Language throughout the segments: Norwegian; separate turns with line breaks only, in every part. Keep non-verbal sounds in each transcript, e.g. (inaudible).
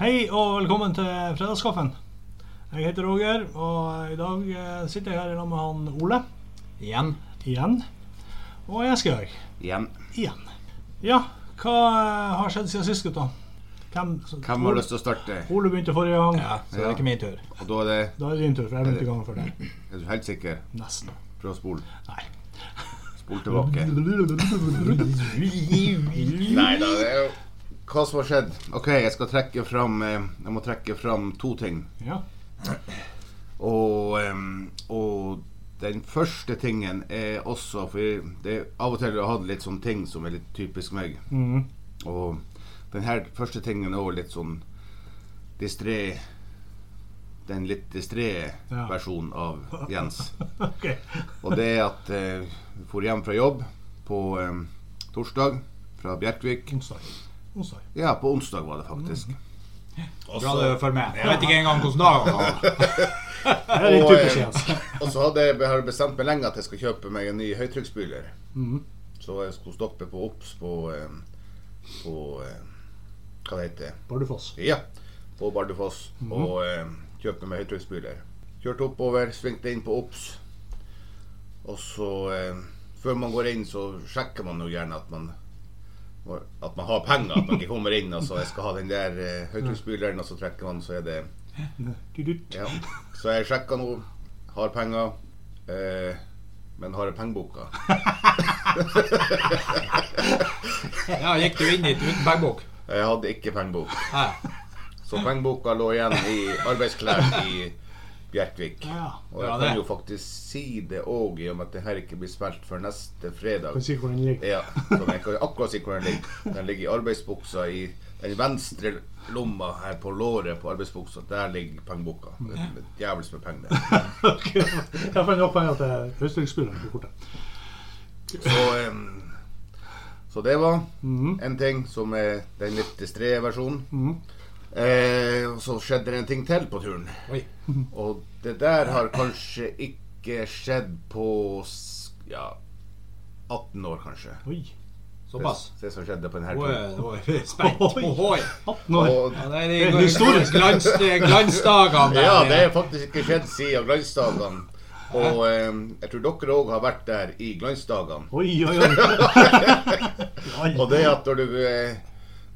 Hei og velkommen til Fredagskaffen. Jeg heter Roger, og i dag eh, sitter jeg her sammen med han Ole
Igjen.
igjen. Og jeg skal gjøre
Igjen.
igjen. Ja, hva eh, har skjedd siden sist, gutta? Hvem,
Hvem har lyst til å starte?
Ole begynte forrige gang.
Ja, så det er ikke min tur.
Og da er det
Da er det din tur, for jeg begynte gangen før deg.
Er du helt sikker?
Eh, Nesten.
Prøv å spole.
Nei.
Spol tilbake. Nei da, det er jo Hva som har skjedd? OK, jeg skal trekke fram eh, Jeg må trekke fram to ting.
Ja.
Og, em, og den første tingen er også For det er av og til har jeg hatt litt sånne ting som er litt typisk meg.
Mhm.
Og den her første tingen er også litt sånn distré Den litt distré
Ja.
versjonen av Jens.
Ok.
Og det er at eh, vi for hjem fra jobb på eh, torsdag fra Bjerkvik.
Onsdag. Onsdag.
Ja, på onsdag var det faktisk.
Mm.
Bra du følger med. Jeg vet ikke engang hvilken dag
(laughs)
han har.
Det er litt
Og,
typisk altså.
eh,
Jens.
(laughs) Og så hadde jeg, jeg har bestemt meg lenge at jeg skal kjøpe meg en ny høytrykksspyler.
Mm.
Så jeg skulle stoppe på OBS på, eh, på eh, Hva det heter det?
Bardufoss.
Ja, på Bardufoss og eh, kjøpte meg høytrykksspyler. Kjørte oppover, svingte inn på OBS. Og så, eh, før man går inn, så sjekker man jo gjerne at man at man har penger, at man ikke kommer inn og så jeg skal ha den der eh, høytrykksspyleren, og så trekker man, så er det
Tudut.
Ja. Så jeg sjekka nå, har penger, eh, men har jeg pengeboka?
Ja, Gikk du inn dit uten bagbok?
Jeg hadde ikke pengebok.
Nei.
Så pengeboka lå igjen i arbeidsklær i Bjerkvik.
Ja.
Og jeg
Bra
kan
det.
jo faktisk si det òg, i og med at det her ikke blir spilt før neste fredag.
Kan si hvor den ligger.
Ja, så jeg kan akkurat si hvor den ligger. Den ligger i arbeidsbuksa i den venstre lomma her på låret på arbeidsbuksa. Der ligger pengeboka. Djevels med penger. der.
Ok. Jeg fant opp penger til høystrykksspilleren på kortet.
Så, em, så det var
Mhm.
en ting som er den litt distré versjonen. Eh, og så skjedde det en ting til på turen.
Oi.
Og det der har kanskje ikke skjedd på s- ja, 18 år, kanskje.
Oi.
Såpass.
Det, det som skjedde på denne
Nå
turen.
er- nå er vi spent.
Oi.
Ohoi.
18 år.
Og,
Ja, det er
Det er
de
historisk.
glans, de glansdagene. der.
(laughs) ja, det har faktisk ikke skjedd siden glansdagene. Og eh, jeg tror dere òg har vært der i glansdagene.
Oi, oi,
(laughs)
oi. Oi.
Og det at når du eh,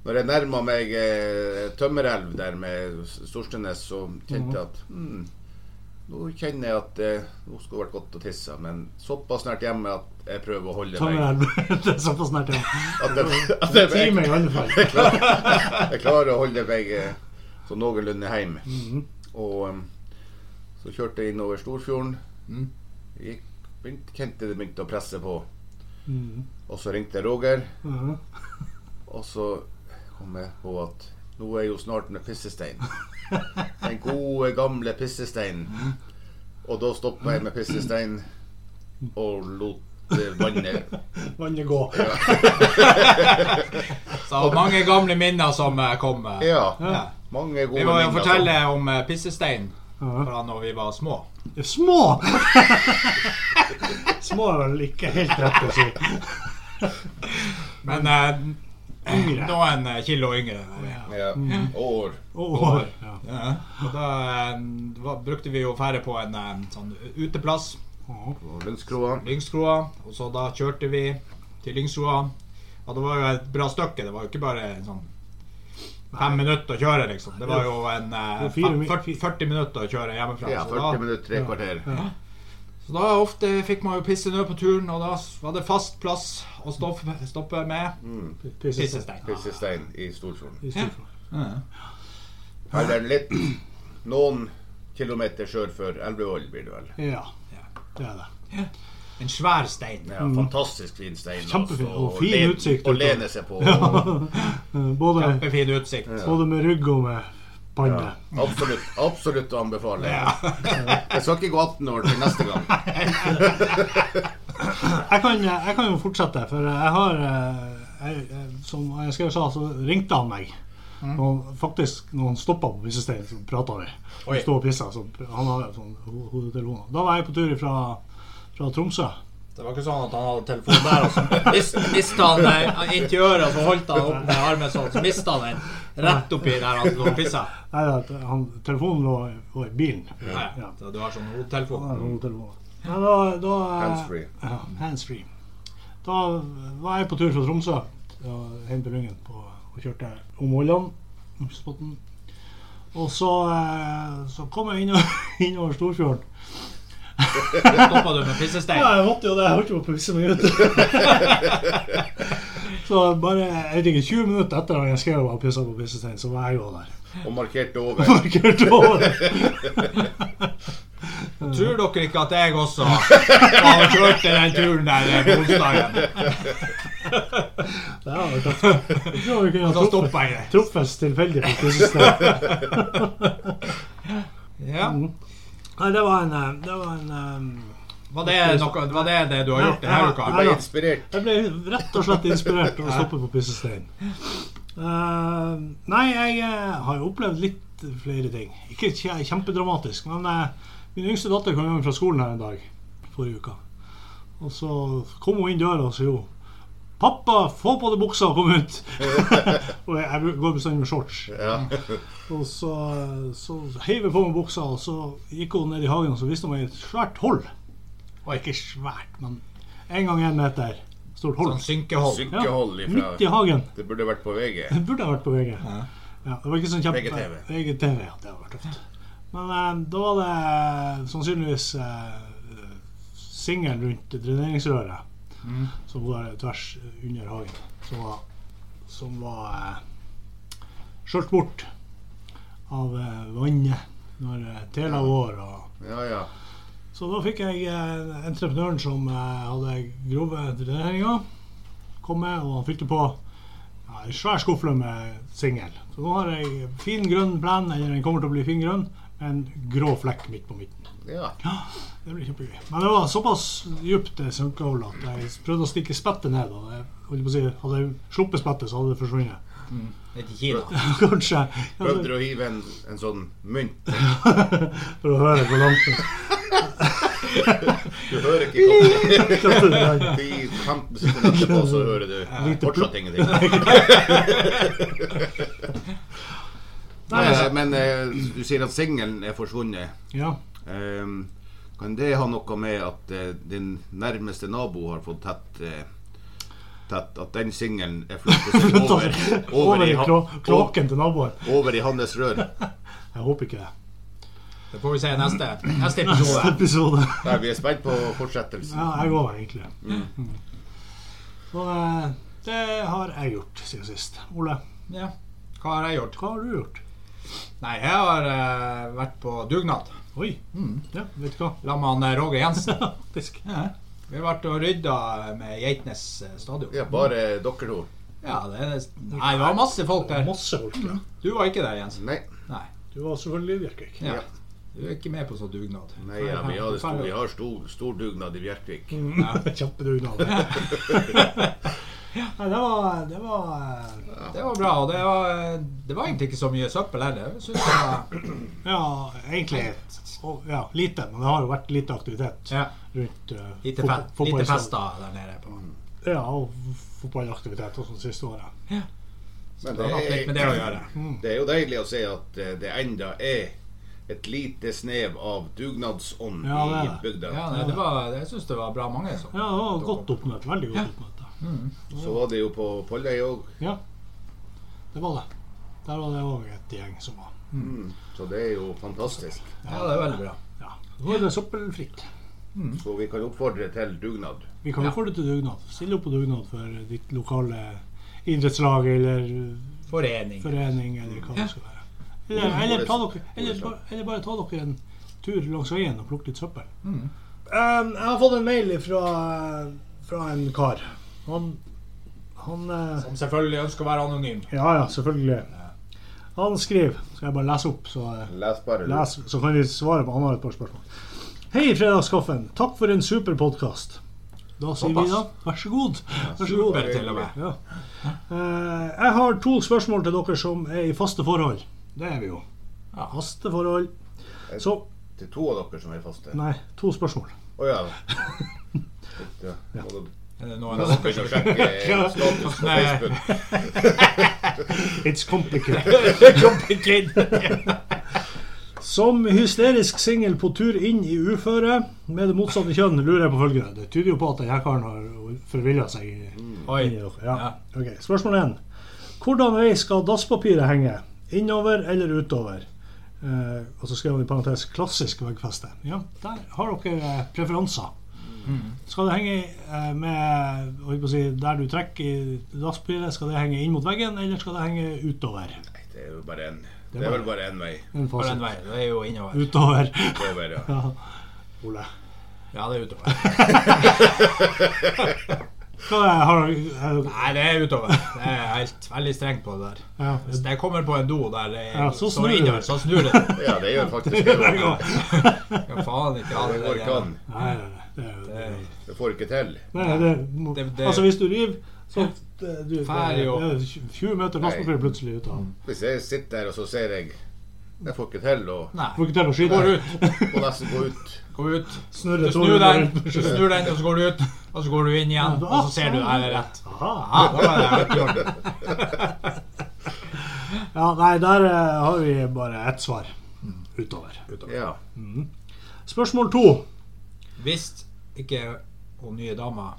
Når jeg nærma meg eh, Tømmerelv der med Storstenes, så kjente jeg at hmm, Nå kjenner jeg at eh, nå skulle det vært godt å tisse, men såpass nært hjemme at jeg prøver å holde
Ta med
meg.
(laughs)
den. Det er såpass nært igjen.
At
Mm.
jeg, at jeg, jeg,
Time i alle
(laughs)
fall.
jeg klarer å holde meg eh, sånn noenlunde hjemme.
Mm,
Og em, så kjørte jeg innover Storfjorden.
Mhm.
Gikk, begynte, kjente det begynte å presse på.
mm,
Og så ringte jeg Roger.
Mhm.
Og så kom jeg på at nå er jo snart med
(laughs)
pissestein. Den gode, gamle pissesteinen.
Mm.
Og da stoppa jeg med pissestein
Mm.
og lot eh, vannet
(laughs)
Vannet gå.
Så mange gamle minner som eh, kom. eh.
Ja.
Ja.
Mange gode
Vi må jo
minner, altså.
fortelle om eh, pissestein
Mhm.
fra når vi var små.
Det er Små! (laughs) Små er vel ikke helt rett å si.
Men eh,
Mm. Yngre.
noen eh, kilo yngre. var vi.
så- Ja.
Mm.
År.
Og år. Ja.
Ja. Og da eh, var- brukte vi jo ferde på en eh, sånn uteplass.
Ja.
På Lundskroa.
Lyngskroa, og så da kjørte vi til Lyngskroa. Og det var jo et bra stykke, det var jo ikke bare en sånn fem minutter å kjøre, liksom. Det var jo en eh,
Det var fire
fem-
mi-
40, 40 minutter å kjøre hjemmefra.
Ja,
altså,
så,
40
da,
minutter, tre kvarter.
så da ofte fikk man jo pisse ned på turen, og da s- var det fast plass å stoppe, stoppe med
Pissestein.
pissestein.
Pissestein i Storfjorden.
I Storfjord.
Eller litt noen kilometer sør for Elvevoll, blir det vel.
Ja. Det er det. (laughs)
En svær stein.
Ja, fantastisk fin stein.
Mm. Kjempefin,
altså,
og fin
len-
utsikt
Å
utover.
lene seg
(laughs)
på. Og,
Eh, Både,
Kjempefin utsikt.
både med rygg og med panne.
Absolutt, absolutt å anbefale. (laughs) Jeg skal ikke gå 18 år til neste gang.
Jeg kan, jeg kan jo fortsette, for jeg har eh, jeg, jeg- Som jeg skrev sa, så ringte han meg. Og faktisk, når han stoppa på pissesteinen, så prata vi.
Oi.
Han sto og pissa. Så han har jo sånn ho- hodetelefoner. Da var jeg på tur fra, fra Tromsø
Det var ikke sånn at han hadde telefonen der, og så mist- mista han eh, inntil øret, og så holdt han opp med armen sånn, så mista han den rett oppi der han lå og pissa.
Nei, at han, telefonen lå, lå i bilen.
Nei, så Du har sånn hodetelefon.
Ja, noen telefoner. Men da, da
Handsfree.
Ja, handsfree. Da var jeg på tur fra Tromsø og hjem til Lyngen på, og kjørte om Åland. om Spotten. Og så, eh, så kom jeg (laughs) innover, innover Storfjorden.
Stoppa du med pissestein?
Ja, jeg måtte jo det. Jeg holdt jo på å pisse meg ut. så bare jeg vet ikke, 20 minutter etter at jeg skrev og pissa på pissestein, så var jeg jo der. (laughs)
Og markerte over.
Markert over.
Tror dere ikke at jeg også har kjørt den turen der eh, på onsdagen?
Det har vært tøft. Jeg tror vi kunne ha
Og så
truffet-
stoppa jeg det.
truffes tilfeldig på pissestein.
Ja.
Nei, det var en, eh, det var en eh,
Var det, noe, var det det du har gjort denne uka?
Ble inspirert.
Jeg ble rett og slett inspirert av å stoppe på pissestein. Eh, nei, jeg eh, har jo opplevd litt flere ting. Ikke kje- kjempedramatisk, men eh, min yngste datter kom hjem fra skolen her en dag forrige uke. Og så kom hun inn døra og sa jo 'Pappa, få på deg buksa og kom ut!' (laughs) og jeg, jeg går bestandig med shorts.
Ja.
Og så, så heiv jeg på meg buksa, og så gikk hun ned i hagen og så viste hun meg et svært hull. Det var ikke svært, men en gang en meter stort hull.
Sånn synkehold.
Synkehold
Midt i
ifra
hagen.
Det burde vært på VG.
Det burde ha vært på VG. Ja, det var ikke sånn kjempe...
VGTV.
VGTV, ja, det hadde vært tøft. Men eh, da var det sannsynligvis eh, singelen rundt dreneringsrøret som går tvers under hagen, som var, som var eh, skjølt bort av eh, vannet når eh, tela vår og
Ja, ja.
så da fikk jeg eh, entreprenøren som eh, hadde grove dreneringer, kom med, og han fylte på ja, en svær skuffle med singel. Så nå har jeg fin grønn plen, eller den kommer til å bli fin grønn, med en grå flekk midt på midten.
ja.
Det blir kjempegøy. Men det var såpass djupt det synkehullet at jeg prøvde å stikke spettet ned. Og jeg, holdt på å si, hadde jeg sluppet spettet, så hadde det forsvunnet. (laughs)
Litt i Kina.
Kanskje.
Prøvde du å hive en, en sånn mynt?
(laughs) For å høre hvor langt det
Du hører
(laughs)
ikke godt. (laughs)
er.
De 15 sekunder etterpå så hører du
Lite
fortsatt ingenting.
Nei, altså.
Eh, Men eh, du sier at singelen er forsvunnet.
Ja.
Ehm, kan det ha noe med at eh, din nærmeste nabo har fått tett eh, tett at den singelen er flyttet
(laughs)
over,
Over i
ha-
klå- kloakken til naboen.
over i hans rør?
Jeg håper ikke det.
Det får vi se i neste, neste episode.
(laughs) episode.
Nei, vi er spent på
Ja,
fortsettelsen.
jeg går egentlig. Mm. Så eh, det har jeg gjort siden sist. Ole,
Ja. Hva har jeg gjort?
hva har du gjort?
Nei, jeg har eh, vært på dugnad
Oi. Ja, vet du hva?
sammen med han, eh, Roger Jensen.
Fisk.
Mm. Ja. Vi har vært og rydda med Geitnes eh, stadion.
Ja, bare dere to.
Ja, det er Nei, det var masse folk der.
Masse folk. ja.
Du var ikke der, Jensen.
Nei,
Nei.
Du var selvfølgelig i Bjerkvik. (laughs)
Ja.
Ja.
Du er ikke med på sånn dugnad.
nei ja, vi, hadde stor, vi har stor, stor dugnad i Bjerkvik.
Kjempedugnad. (laughs) Nei, det var, det var eh,
Det var bra. Og det var, det var egentlig ikke så mye søppel heller. Jeg synes det var,
Ja, egentlig og, ja, lite. Men det har jo vært lite aktivitet
ja,
rundt uh,
lite, fe- lite fester der nede. på
Mm.
Ja, og f- fotballaktivitet og sånn siste året.
Men
Det
det
har hatt litt med det å
er, Mm.
gjøre.
det er jo deilig å se at eh, det enda er et lite snev av dugnadsånd
Ja, det
i
er
bygda.
Ja, nei, det var, jeg syns det var bra mange som
Ja, det var godt oppmøte. Veldig godt oppmøte.
Så var det jo på Polløy òg.
Ja, det var det. Der var det òg et gjeng som var.
Så det er jo fantastisk.
Ja, det er veldig bra.
Ja. Nå er det søppelfritt.
Så vi kan oppfordre til dugnad.
Vi kan jo få det til dugnad. Stille opp på dugnad for ditt lokale idrettslag eller
Forening.
forening eller hva det skal være. Eller, eller, ta dere, eller, ba- eller bare ta dere en tur langs veien og plukke litt søppel. Um, jeg har fått en mail fra, fra en kar. Han, han eh,
Som selvfølgelig ønsker å være anonym.
Ja ja, selvfølgelig. Han skriver Skal jeg bare lese opp, så eh,
Les bare. du.
Les, så kan vi svare på annet et par spørsmål. Hei, Fredagskaffen. Takk for en super podkast. Da sier
Såpass.
vi da vær så god. Vær så god.
Super til og med.
Ja. Eh, jeg har to spørsmål til dere som er i faste forhold. Det er vi jo.
Ja.
Faste forhold. Så
til to av dere som er faste?
Nei, to spørsmål.
Å ja. ja. Må da
Er det noen
må
av
dere
dere
begynne å
som
sjekke eh, status på
Nei. (laughs)
(laughs) Facebook.
It's complicated. (laughs) Som hysterisk singel på tur inn i uføre med det motsatte kjønn, lurer jeg på følgende. Det tyder jo på at denne karen har forvilla seg. i-
Oi.
i dere. Ja. Ok, Spørsmål én. Hvordan vei skal dasspapiret henge? Innover eller utover? Eh, og så skrev han i parentes 'klassisk veggfeste'. Ja, der har dere eh, preferanser. Skal det henge eh, med hva skal jeg si, Der du trekker i dasspapiret, skal det henge inn mot veggen, eller skal det henge utover?
Nei, Det er jo bare en
er
Det er vel
bare-
bare én vei.
En
Bare
fasit.
den veien. Det er jo innover.
Utover. (laughs)
Over, ja.
Ja. Ole.
Ja, det er utover.
Hva er, har, er,
Nei, det er utover. Det er helt veldig strengt på det der.
ja.
Hvis jeg kommer på en do der det
Ja, så
står
snur du.
innover, så snur det.
Ja, det gjør faktisk det.
Der går (laughs) det.
Ja, faen ikke ha
Det
det
går ikke an.
der.
Nei, nei, det er jo det.
Det-
Det får ikke til.
Nei, det, må,
Det- det-
altså, hvis du river, så det, du, det,
Fær jo.
det er 20 meter plastpapir plutselig ut av den.
Hvis jeg sitter her og så ser jeg Jeg får ikke til å
Får
Nei.
ikke til å
Går
skyte.
ut.
må nesten gå ut.
Gå ut.
Snurre
Du snur den,
rundt.
du snur den, og så går du ut. Og så går du inn igjen, og så ser du
sånn.
det her er rett.
Ah, Aha.
Ja, da var det helt i orden.
Ja, nei, der eh, har vi bare ett svar.
Mm.
Utover.
Ja.
Spørsmål to.
Hvis ikke hun nye dama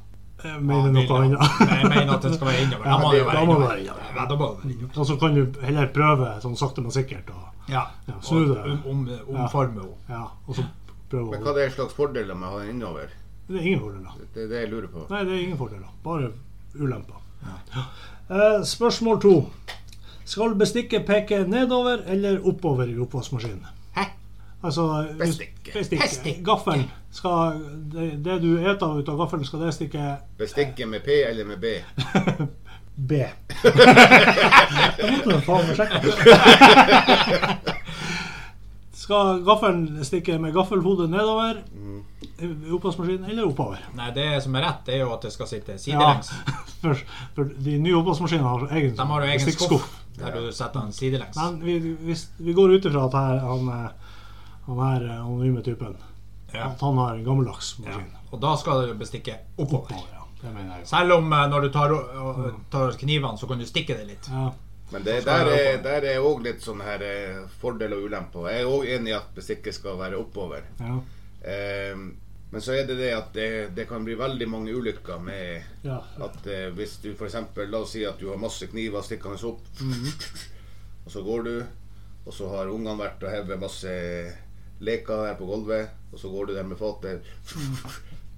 Jeg mener
vil-
noe annet.
Ah, Nei, Jeg mener at det skal være innover. Da må det jo være
Da må det
innover.
være innover.
Ja, da må det være
(laughs)
innover.
Og så kan du heller prøve sånn sakte, men sikkert. Og,
Ja.
Ja, snu det.
Om- om- Omforme henne.
ja, og så prøve
Men
å
hva er det slags fordeler med å ha den innover?
Det er ingen fordeler.
Det er det jeg lurer på.
Nei, det er ingen fordeler. Bare ulemper. Eh, spørsmål to. Skal bestikket peke nedover eller oppover i oppvaskmaskinen?
Hæ?
Altså, hvis-
Bestikket.
bestikket. Gaffelen. Skal det, det du eter ut av gaffelen, skal det stikke
Bestikket med P eller med B?
B? Jeg måtte jo faen meg sjekke. Skal gaffelen stikke med gaffelhodet nedover i oppvaskmaskinen eller oppover?
Nei, det som er rett, det er jo at det skal sitte
(laughs)
sidelengs.
for, for de nye oppvaskmaskinene har egen,
De har jo egen
bestikkskuff.
skuff der du setter den sidelengs.
Men vi, hvis, vi går ut ifra at her, han, eh, han her eh, anonyme typen
Ja.
At han har en gammeldags maskin.
Og da skal du bestikke oppover.
Oppover, ja. Det mener jeg.
Selv om eh, når du tar, og- og tar knivene, så kan du stikke det litt.
Ja.
Men det, der er- der er òg litt sånn her eh, fordel og ulempe. Jeg er òg enig i at bestikket skal være oppover.
Ja.
Eh, men så er det det at det, det kan bli veldig mange ulykker med
Ja.
at eh, hvis du f.eks. La oss si at du har masse kniver stikkende opp,
Mhm.
og så går du, og så har ungene vært og hevet masse leker her på gulvet, og så går du der med fatet,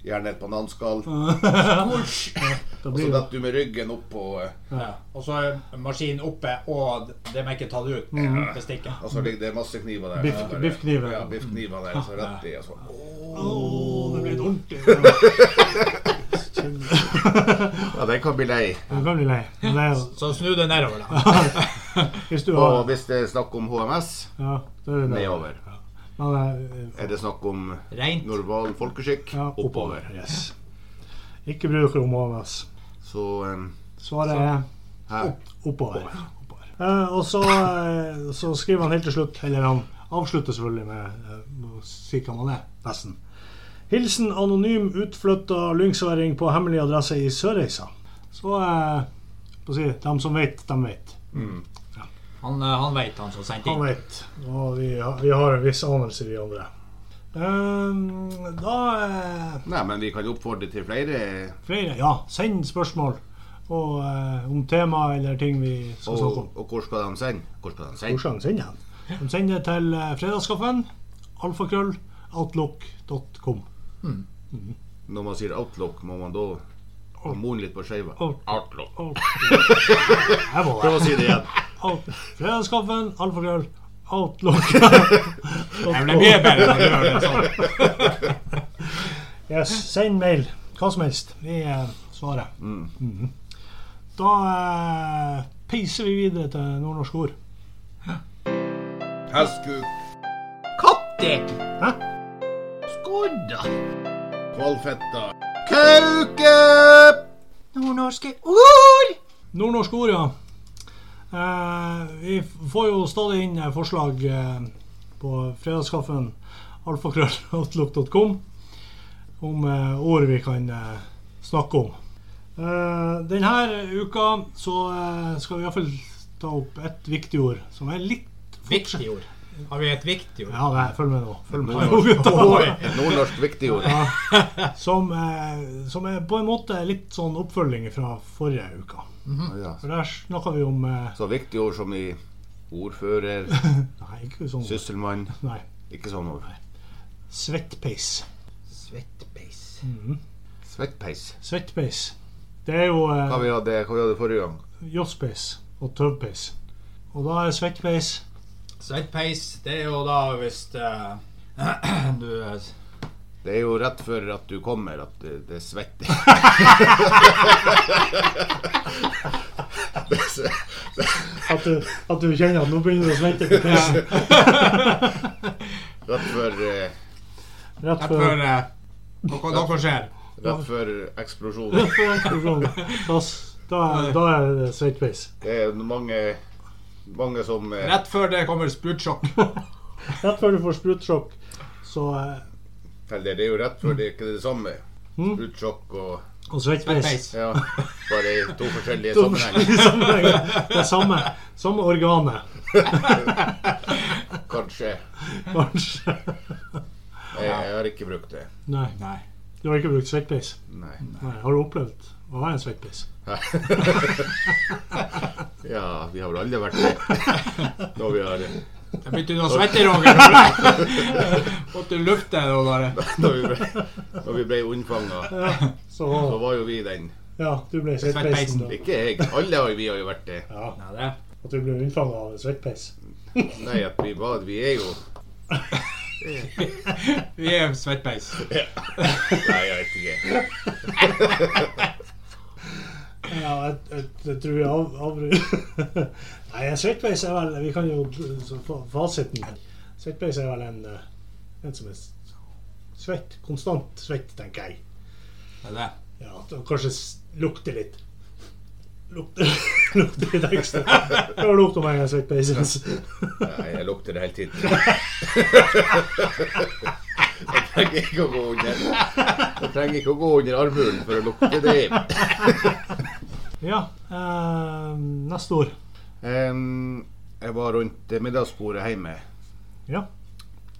gjerne et bananskall,
(laughs) Da
og så
blir det
detter du med ryggen opp på eh,
ja.
Og så er maskinen oppe, og det må ikke ta det ut.
Mhm.
Bestikket.
Og så ligger altså, det masse kniver der.
Biff-
Ja, bare-
biffkniver.
Ja, biffkniver der, så rett i. altså. Og så.
Åh, det blir litt (laughs) ordentlig.
Ja, den kan bli lei.
Du kan bli lei. Men det er jo
Så snu det nedover, da.
Hvis du
Og
har
hvis det er snakk om HMS,
Ja, da er det
nedover.
Men, eh,
Er det snakk om
Rent.
normal folkeskikk,
ja,
oppover.
Yes. Ikke bruk om HMS.
Så em,
Svaret er
her.
Oppover. Eh, og så, eh, så skriver han helt til slutt, eller han avslutter selvfølgelig med eh, å si hva man er, nesten. Hilsen anonym utflytta lyngsværing på hemmelig adresse i Sørreisa. Så eh, på å si, dem som vet, dem vet.
Han, eh, han veit, han som sendte
Han
inn.
vet. Og vi, har- vi har en viss anelse, vi andre. Eh, da eh,
Nei, men vi kan oppfordre til flere.
Flere, ja. Send spørsmål og, eh, om tema eller ting vi skal snakke om.
Og, og hvor skal de sende? Hvor skal de sende?
Hvordan sender han? De sender til eh, fredagskaffen, alfakrøll, outlook.com.
Når man sier outlook, må man da hormone litt på skeiva?
Out-
Outlook.
Out- Jeg må
Prøv
det.
å si det igjen.
Out- Fredagskaffen, alfakrøll, (laughs) outlook.com.
Det blir mye bedre når du gjør
(laughs)
det sånn.
Yes, send mail. Hva som helst. Vi eh, svarer.
Mm.
Mhm. Da eh, peiser vi videre til nordnorsk ord.
Hestkuk,
Kotti!
Hæ?
Skodda!
kvalfetta, kauke!
Nordnorske ord!
Nordnorsk ord, ja. Eh, vi f- får jo stadig inn eh, forslag eh, på fredagskaffen alfakrølloutlook.com om eh, år vi kan eh, snakke om. Eh, denne uka så eh, skal vi iallfall ta opp et viktig ord som er litt
Viktig ord. Har vi et viktig ord?
Ja, nei, følg med nå. Følg med nå,
Nordnorsk,
gutta.
et nordnorsk viktig ord.
Som, eh, som er på en måte litt sånn oppfølging fra forrige uke.
Ja.
For der snakka vi om eh,
Så viktig ord som i ordfører,
Nei, ikke sånn.
sysselmann
Nei.
Ikke sånne ord.
Svettpeis.
Svettbeis.
Svettpeis.
Svettpeis. Det er jo eh,
Hva vi hadde hva vi hadde forrige gang?
josspeis og tøvpeis. Og da er svettpeis
Svettpeis, det er jo da hvis eh, (clears throat) du eh,
Det er jo rett før at du kommer at det, det er svett. Det er sve-
at du, at du kjenner at nå begynner du å svette på peisen.
rett før, eh,
Rett
Rett
før
før eh, noe, noe skjer.
rett før eksplosjonen.
rett før eksplosjonen. Da, s- da, er- da er det svettpeis.
Det er mange, mange som eh,
Rett før det kommer sprutsjokk.
(laughs) Rett før du får sprutsjokk, så eh,
Eller det er jo rett før det er ikke det samme.
Mm.
Sprutsjokk og
Og svettpeis. (laughs)
Svettpeis.
Ja, bare i to forskjellige
To
sammenhenger,
forskjellige sammenhenger. Det er samme, samme organet,
kanskje.
kanskje.
Jeg, jeg har ikke brukt det.
Nei,
Nei.
du har ikke brukt svettpeis.
Nei.
Nei, Har du opplevd å ha en svettpeis?
Ja, vi har vel aldri vært det. Når vi har,
Jeg begynte å svette, Roger. (laughs) Måtte lufte det bare.
når vi ble, når vi ble unnfanga,
Så
så var jo vi den.
ja, du ble svettpeisen, da.
Ikke jeg. Alle har, vi har jo vært det.
Ja,
Ja, det.
At du ble unnfanga av en svettpeis.
Nei, at vi var Vi er jo
Vi er svettpeis.
Nei, jeg vet ikke.
Ja, jeg, jeg, jeg tror jeg av, avbryter (laughs) Nei, en svettpeis er vel Vi kan jo så fa- fasiten. Svettpeis er vel en, eh, en som er s- svett. Konstant svett, tenker jeg.
Det er det.
Ja, at det kanskje s- lukter litt. Lukter, (laughs) lukter litt ekstra. Det var lukt om jeg har svettpeis.
Nei, jeg lukter det hele tiden. Jeg trenger ikke å gå under Jeg trenger ikke å gå under armhulen for å lukte det.
Ja, eh, neste år.
Em, jeg var rundt middagsbordet hjemme
Ja.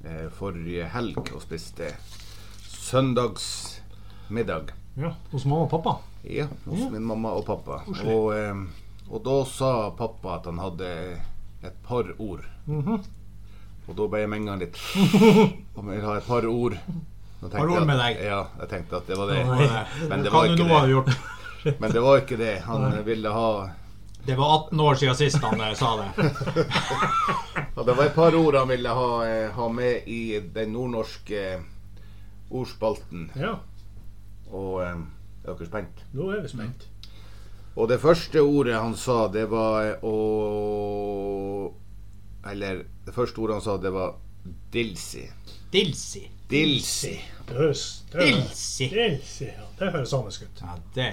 eh, forrige helg og spiste søndagsmiddag.
ja. Hos mamma og pappa.
Ja, hos
Ja.
min mamma og pappa.
Koselig.
Og, em, og da sa pappa at han hadde et par ord.
Mhm.
Og da ble jeg med en gang litt
(laughs)
Om jeg vil ha et par ord. Da tenkte
Par ord
jeg at-
med deg.
Ja, jeg tenkte at det var
Det
det.
var det.
(laughs) Men det
Hva
var
du
ikke
nå har
det.
gjort?
Men det var ikke det. Han ville ha
Det var 18 år siden sist han eh, sa det.
ja, Det var et par ord han ville ha, eh, ha med i den nordnorske eh, ordspalten.
Ja,
Og em, er dere spent?
nå er vi spent.
Og det første ordet han sa, det var eh, å Eller det første ordet han sa, det var dilsi.
Dilsi.
Dilsi.
Det høres det høres-
Dilsi.
Dilsi, ja. Det høres samisk ut.
Ja, det.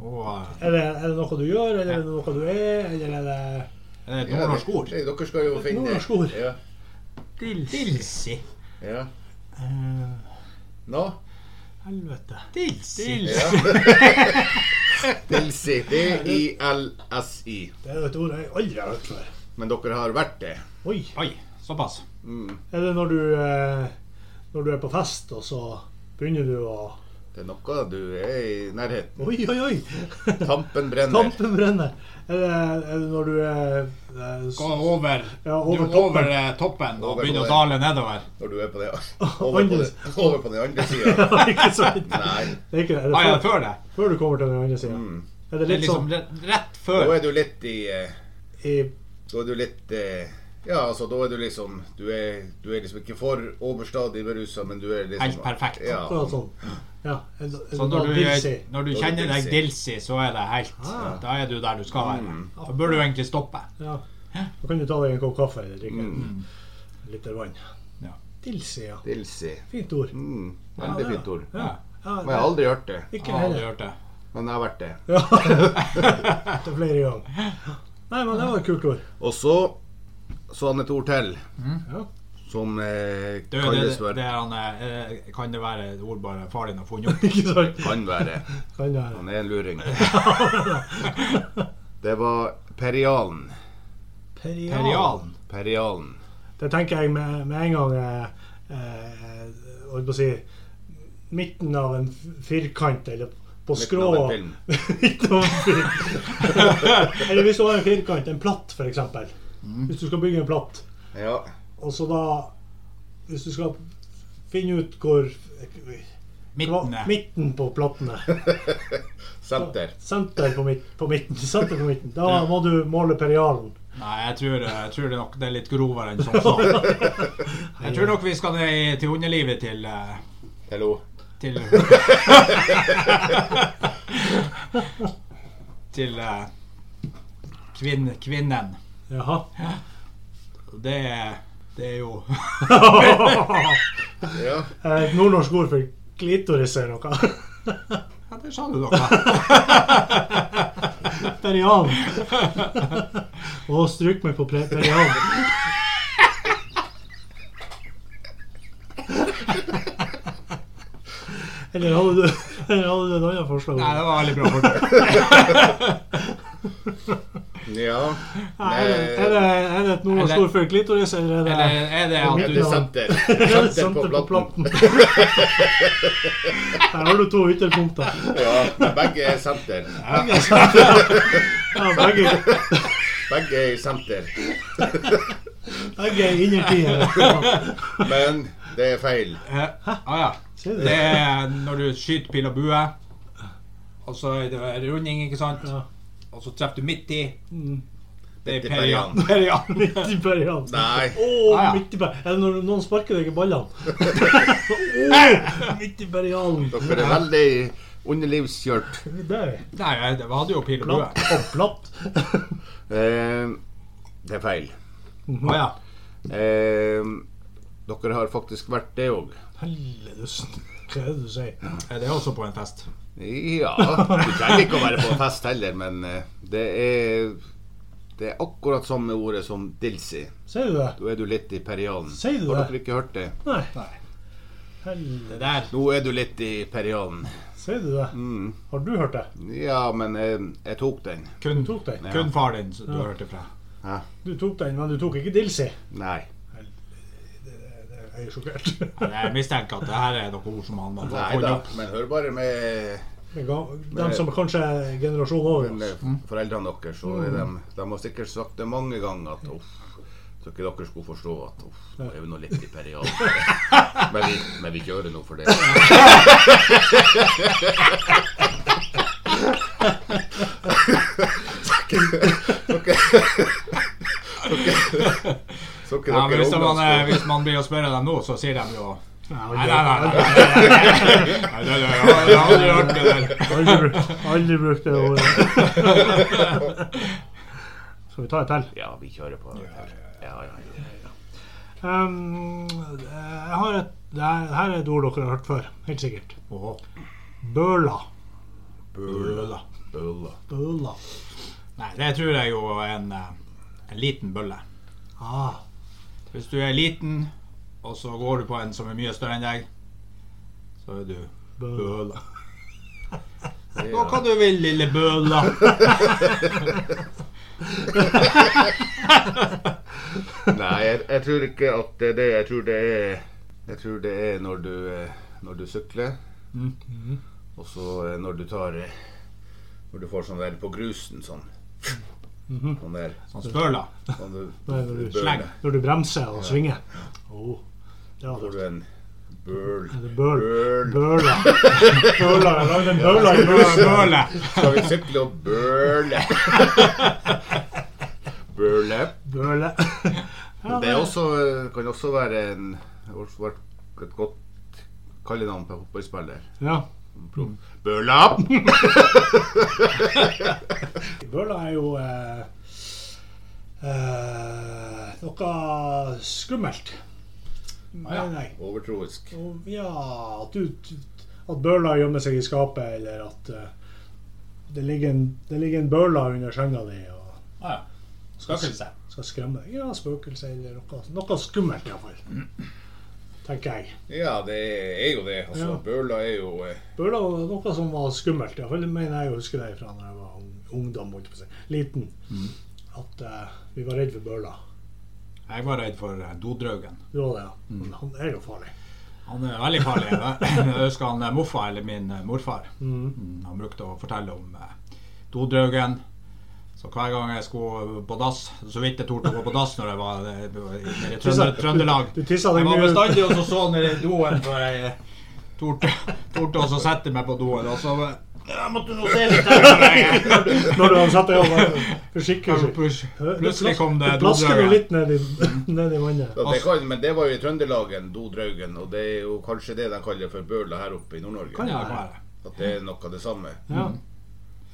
Og eh,
Er det, er det noe du gjør, eller er det noe du er, eller er det
er det et nordnorsk ord?
Ja, det- dere skal jo
Et
finne
nordnorsk ord.
Ja,
Dilsi.
ja.
eh,
Nå?
Helvete.
Dilsi.
Ja.
(laughs)
Dilsi. D-i-l-s-i.
Det er jo et ord jeg aldri har hørt før.
Men dere har vært det.
Oi.
Oi, såpass.
Mm.
Er det når du, eh, når du er på fest, og så begynner du å
Det er noe du er i nærheten.
Oi, oi, oi!
Tampen brenner.
Tampen brenner. Er det, er det når du er eh, s-
Gå over,
Ja, over
du,
toppen.
over eh, toppen og
Over,
begynne å
over.
dale nedover.
Når du er på det over på, det, over på den andre sida.
(laughs) Ja, ikke sant?
Nei.
Det er ikke er det
Ah, ja,
før,
før det.
før du kommer til den andre sida.
Mm.
Er det
det er
litt
liksom
sånn
re- rett
Da
før.
er du litt i eh,
i
Da er du litt eh, Ja, altså, da er du liksom Du er, du er liksom ikke for overstadig berusa, men du er liksom
Helt perfekt.
Ja.
Akkurat sånn. Ja. Er det, er
Så
det da
når du,
Dilsi?
når du
Da er det
kjenner deg
Dilsi.
dilsi, så er det helt
Ah.
Da er du der du skal være. Da bør du egentlig stoppe.
Ja. Da kan du ta deg en kopp kaffe eller drikke
Mm.
en liter vann.
Ja.
Dilsi, ja.
Dilsi.
Fint ord.
Mm.
Ja,
Veldig
det-
fint ord.
Ja. Ja,
Men jeg har aldri hørt det.
Ikke
Jeg har aldri
heller.
hørt det.
Men jeg har vært det.
Ja. (laughs) Etter flere ganger. Nei, men det var et kult ord.
Og så så han et ord til
Ja.
Som eh,
Det, det,
kalles
det,
for
det er han, eh, kan det være et ord bare far din har
(laughs)
funnet opp?
(laughs) Ikke sant?
Kan være.
Kan det være.
Han er en
(laughs)
luring. Det var Perialen.
Perialen.
Perialen.
Det tenker jeg med, med en gang eh, eh, Holdt på å si Midten av en f- firkant, eller på
Midten
skrå
av en film.
(laughs) Midten av en
(laughs)
firkant. Eller hvis du har en firkant, en platt f.eks.
Mm.
Hvis du skal bygge en platt,
Ja.
og så da Hvis du skal finne ut hvor
Midten.
hva- midten på platten er
Senter.
Senter på, midt, på midten. Senter på midten. Da må du måle perialen.
Nei, jeg tror, eh, jeg tror det nok det er litt grovere enn
(laughs)
som så. (laughs) Jeg tror nok vi skal ned i- til underlivet til, eh,
Hello.
(laughs)
til (laughs) Til eh, kvinn, kvinnen.
Jaha.
Det, er- det er jo (laughs)
Ja.
Et Eh, nordnorsk ord for klitoris eller noe. (laughs)
Ja, der sa du noe.
Perian. Å, stryk meg på pre- perian. Eller hadde du, eller hadde du et annet forslag?
Nei, det var veldig bra fortalt.
ja.
er, det, er, det, er det et nordnorsk
Eller-
ord for klitoris, eller er det
Eller
(laughs)
er det at
Er det
du (laughs)
senter?
er det
Senter på
senter på
platten. (laughs)
platten? Her har du to ytterpunkter.
Ja, men begge er senter.
Ja, begge,
Begge er i senter.
begge er innertier.
Men det er feil.
Eh, ah, ja.
Ser du
Det er når du skyter pil og bue, og så er det runding, ikke sant?
Ja.
Og så treffer du midt i.
Mm.
Det er
Midt i perian.
perian. perian.
Midt i perian.
Nei.
Å,
Ah, ja.
midt i perian. Er det når noen sparker deg i
(laughs)
ballene? Å, (laughs) midt i perianen.
Dere er veldig underlivskjørt.
Der.
Nei, jeg jeg hadde jo pil og bue.
Platt og platt.
Eh, det er feil.
Ah, ja.
Eh, dere har faktisk vært det òg.
Helledussen. Hva er det du sier?
Er det også på en fest?
Ja. Du trenger ikke å være på fest heller, men eh, det er Det er akkurat samme ordet som dilsi.
Sier du det?
Da er du litt i perianen.
Sier du
Har
det?
dere ikke hørt det?
Nei.
Nei.
Helvete.
Det der.
Nå er du litt i perianen.
Sier du det?
Mm.
Har du hørt det?
Ja, men jeg, jeg tok den.
Kun,
Du tok den.
kun far din som du har hørt det fra.
Du tok den, men du tok ikke Dilsi.
Nei.
Jeg er sjokkert.
Jeg mistenker at det her er noen ord som han har
Nei
funnet
da,
opp.
men hør bare med
(laughs) Men ga- Dem som kanskje er generasjonen over
med
oss.
foreldrene deres. Og de, de har sikkert sagt det mange ganger at uff, så ikke dere skulle forstå at uff, nå er vi nå litt i periaden. Men vi, men vi gjør det nå for det. Så ikke altså.
Ja, men
dere
hvis, man, eh,
ungdomsskolen-
hvis man blir og spør dem nå, så sier de jo Nei, nei,
aldri-
nei. nei, nei, nei, nei, nei, nei, nei, Jeg har aldri hørt det der.
(laughs) Aldri, bru- aldri brukt det
(laughs)
ordet. Skal vi ta et til?
Ja, vi kjører på. Ja, ja, ja.
Um, jeg har et, det her, det her er et ord dere har hørt før, helt sikkert.
Åhå.
Bøla.
Bølla. Bølla.
Bøla.
Nei, det tror jeg jo er en, eh, en liten bølle.
Ah,
Hvis du er liten, og så går du på en som er mye større enn deg, så er du
bøla.
bøla. Gå hva du vil, lille bøla.
Nei, jeg, jeg tror ikke at det er det. Jeg tror det er, jeg tror det er når, du, eh, når du sykler,
Mhm,
og så eh, når du tar eh, Når du får sånn der på grusen sånn. Sånn der.
Sånn spøla.
Sånn du,
(laughs) Nei, når du-
bøl,
Sleng.
Når du bremser og svinger. Oh, det
Får
hadde
du en bøl.
det er bøl.
Bøl.
Bøla. (laughs) Bøla. Jeg lagde en bøla i
Bø-
grusen.
Bøle.
Skal vi sykle og
(laughs)
bøle? Bøle.
Bøle. (laughs) Ja,
Det er også, eh, kan også være en, også være et godt kallenavn på fotballspiller.
Ja.
Bøla!
(laughs) Bøla er jo eh, eh, noe skummelt, mener jeg.
Overtroisk.
Og, ja, at, du, at bøla gjemmer seg i skapet, eller at eh, det, ligger en, det ligger en bøla under senga di. Og,
Ah, ja.
Spøkelse.
Skal skremme deg. Ja, spøkelse eller noe, noe skummelt iallfall. Tenker jeg.
Ja, det er jo det. Altså,
Ja.
Bøla er jo eh,
Bøla var noe som var skummelt, iallfall mener jeg å huske det fra da jeg var ung- ungdom, holdt jeg på å si. Liten. At eh, vi var redd for bøla.
Jeg var redd for eh, dodraugen.
Det var det, ja. Men han er jo farlig.
Han er veldig farlig. Jeg husker han eh, morfar, eller min eh, morfar,
Mm.
Mm, han brukte å fortelle om eh, dodraugen. Så hver gang jeg skulle på dass, så vidt jeg torde å gå på dass når jeg var eh, nede i Trønder, Trøndelag
Du tisset deg
Jeg var
mye ut.
bestandig og så så ned i doen før jeg eh, torde, torde også sette meg på doen. Og så eh, jeg måtte nå se
(laughs)
litt her.
Når du hadde satt deg over for sikkerhets skyld.
Plutselig- Plutselig kom det
Du plasker jo
dodraugen.
litt ned i, ned i vannet.
ja, det kan, Men det var jo i Trøndelagen, Dodraugen, og det er jo kanskje det de kaller for bøla her oppe i
Kan
Nord-Norge.
det være.
At det er noe av det samme.
Ja.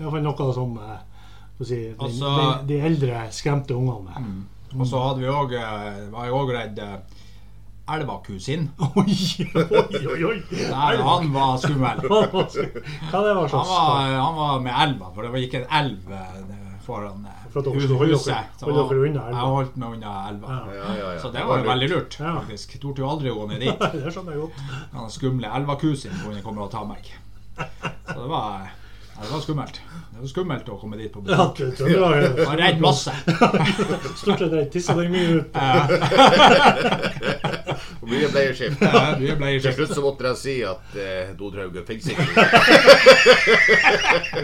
Iallfall noe som eh, får si, de,
Altså-
de, de eldre skremte ungene med.
Og så hadde vi også, eh, var jeg òg redd eh, elvakusin.
(laughs) Oi, oi, oi, oi.
Der, han var skummel.
(laughs) Hva det var
Han
slags
var, han var med elva, for det var ikke en elv eh, foran eh,
For at dere
hu-
skulle holde dere-
Så
holde
han-
dere unna elva.
Jeg holdt meg unna elva.
Ja. (laughs)
Ja, ja, ja.
Så det var jo veldig lurt,
Ja.
faktisk. Jeg Torde jo aldri å gå ned dit.
Det skjønner jeg godt.
Han skumle elvakusin kunne komme og ta meg. Så det var, ja, det var skummelt. Det var skummelt å komme dit på
Ja,
besøk.
det tror jeg var
Jeg var redd masse.
(laughs) Stort sett jeg tisset deg mye ut.
(laughs)
Og mye bleieskift.
Eh, Du ble
Til
skjønt.
slutt så måtte jeg si at eh, Dodraugen finnes
(laughs)
ikke.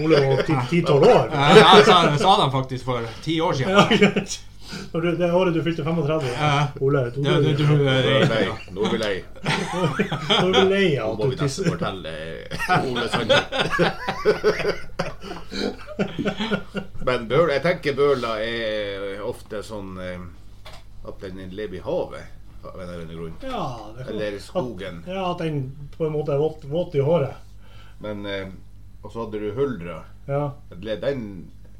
Ole var ti- ti-tolv år.
Eh, ja, Jeg sa, jeg sa dem faktisk for ti år
Ja,
siden.
greit. Når du- Det året du fylte 35.
Ja.
Ole, du, (laughs)
Du, du, du,
Nå er vi
eh,
lei. Nå er vi lei.
når du er lei
Nå
av at du
må vi nesten
tisser
fortelle eh, Ole
(laughs)
Sander. Men bøla, jeg tenker bøla er ofte sånn eh, at den lever i havet. Av en eller annen grunn.
Ja, det kan-
Eller skogen.
At, ja, at den på en måte er våt, våt i håret.
Men eh, Og så hadde du huldra.
Ja,
Den,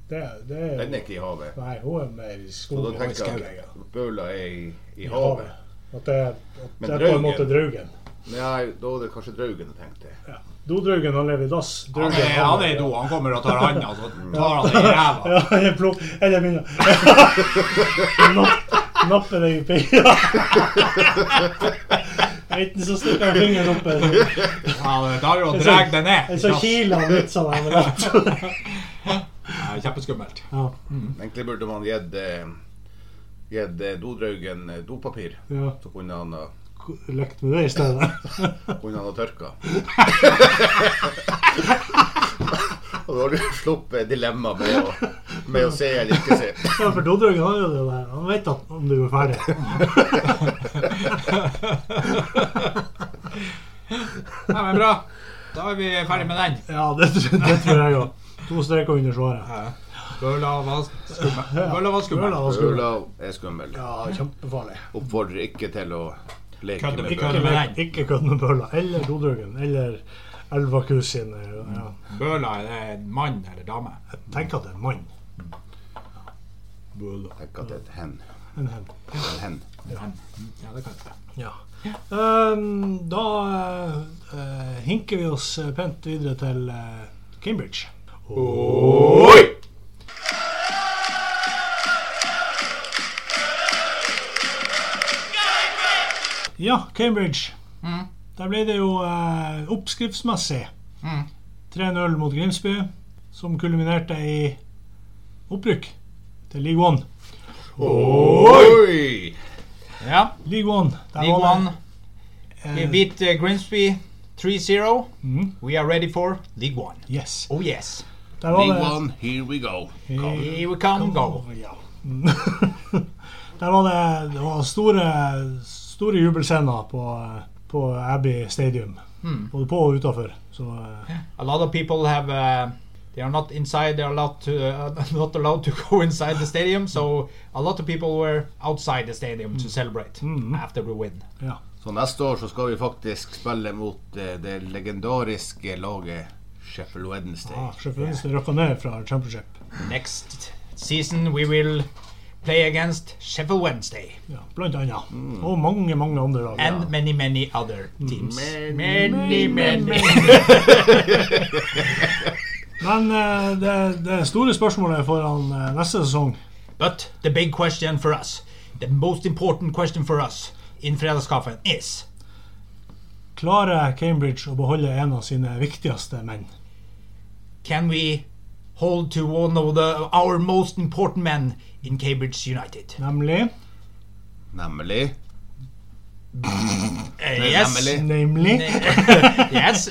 det, det er
den er ikke i havet.
Nei, hun er mer i
Så da
skogen. og i
tenker
skogen,
jeg
ja.
at bøla er i, i
I
havet.
havet. At det, at
Men
det er på en
draugen?
måte draugen.
Nei, da er det kanskje draugen jeg tenkte.
Ja. Dodraugen han lever i dass.
Han
Draugen
er, han er i do. Han kommer og tar handa, så tar han deg i ræva.
Ja, jeg plukk... Eller min (laughs) Napp, Nappe deg i (laughs) pinna. Enten så stikker han fingeren opp, eller
Ja, det tar jo og drar deg ned.
eller så kiler han litt sånn. her, men-
Ja, Kjempeskummelt. (laughs)
Ja,
Egentlig burde man gitt eh, gitt, eh, dodraugen eh, dopapir.
ja.
Så kunne han ha,
Lekt med det i stedet.
kunne han ha
(laughs)
tørka. Og da har du sluppet dilemmaet med, å- med å se eller ikke se.
Ja, for Dodraugen har jo det der. Han vet at om du er ferdig.
Ja, men bra. Da er vi ferdig med den.
Ja, det, det tror jeg òg. To streker under svaret.
Bøla var skummel. Bøla var skummel.
Bøla var skummel.
Øla er skummel.
Ja, kjempefarlig.
Oppfordrer ikke til å leke
Kødde
med
med
Ikke,
bøker.
kødde.
lek- ikke kødd med bøla. Eller Dodraugen. Eller Elvakus sin ja.
Bøla er en mann eller dame.
Jeg tenker at det er en mann.
Bøla.
Tenk at det er et hen.
En hen.
En hen.
Ja, det kan jeg.
Ja. Ehm, da eh, hinker vi oss pent videre til eh, Cambridge.
Oi!
Ja, Cambridge.
Mm.
Der ble det jo eh, oppskriftsmessig
Mm.
3-0 mot Grimsby, som kulminerte i opprykk til League One.
Oi!
Ja,
League One. Der
League
var det,
One. Vi
eh,
beat eh, Grimsby 3-0.
Mhm.
We are ready for League One.
Yes.
Oh yes.
Der var
League
det,
one, here we go. Kom.
Here we come go.
Ja. (laughs) Der var det, det var store, store jubelscener på, eh, på Abbey Stadium. Både på og utafor. Så eh,
A lot of people have. Uh, they are not inside. They are allowed to, uh, (laughs) not allowed to go inside the stadium. So a lot of people were outside the stadium to celebrate after we win.
ja.
Så neste år så skal vi faktisk spille mot eh, det legendariske laget Sheffield Wednesday.
Ah, Sjøfjordnes røkka ned fra championship.
Next season we will play against Sheffield Wednesday
Ja, blant annet. Og mange, mange andre lag.
and many many other teams.
Many,
many. many.
Men eh, det, det store spørsmålet foran eh, neste sesong
(laughs) But the big question for us, the most important question for us in Fredagskaffen is
Klarer Cambridge å beholde en av sine viktigste menn?
can we hold to one of the our most important men in Cambridge United?
Nemlig
Nemlig.
Uh, yes.
(laughs)
nemlig.
Nemlig,
yes.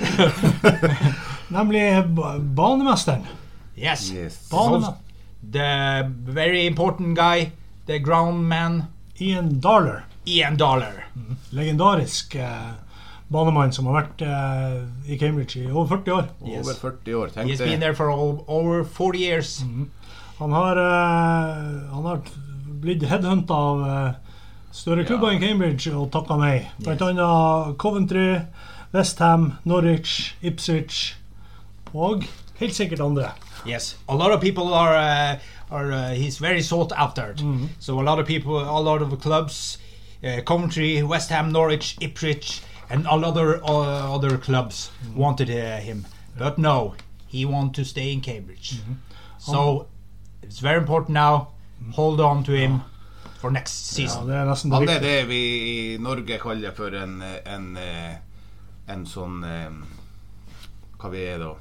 nemlig ba- banemesteren.
yes.
Yes.
Banema.
The very important guy, the ground man,
Ian Darler.
Ian Dollar.
Legendarisk eh, banemann som har vært eh, i Cambridge i over 40 år.
Over 40 år.
He
Tenk
has been
det.
there for all, over 40 years.
Han har, eh, han har blitt headhunta av eh, større klubber enn Cambridge og takka nei. Blant annet Coventry, Westham, Norwich, Ipswich og helt sikkert andre.
Yes, a lot of people are uh, are uh, he's very sought after. So a lot of people, a lot of clubs, uh, Coventry, West Ham, Norwich, Ipswich, and a lot of uh, other clubs wanted uh, him, but no, he wanted to stay in Cambridge. So it's very important now. Hold on to him for next
Ja,
season.
(laughs) det er nesten det
Han er
viktige.
det vi i Norge kaller for en, en, eh, en sånn eh, Hva vi
(laughs)
er da?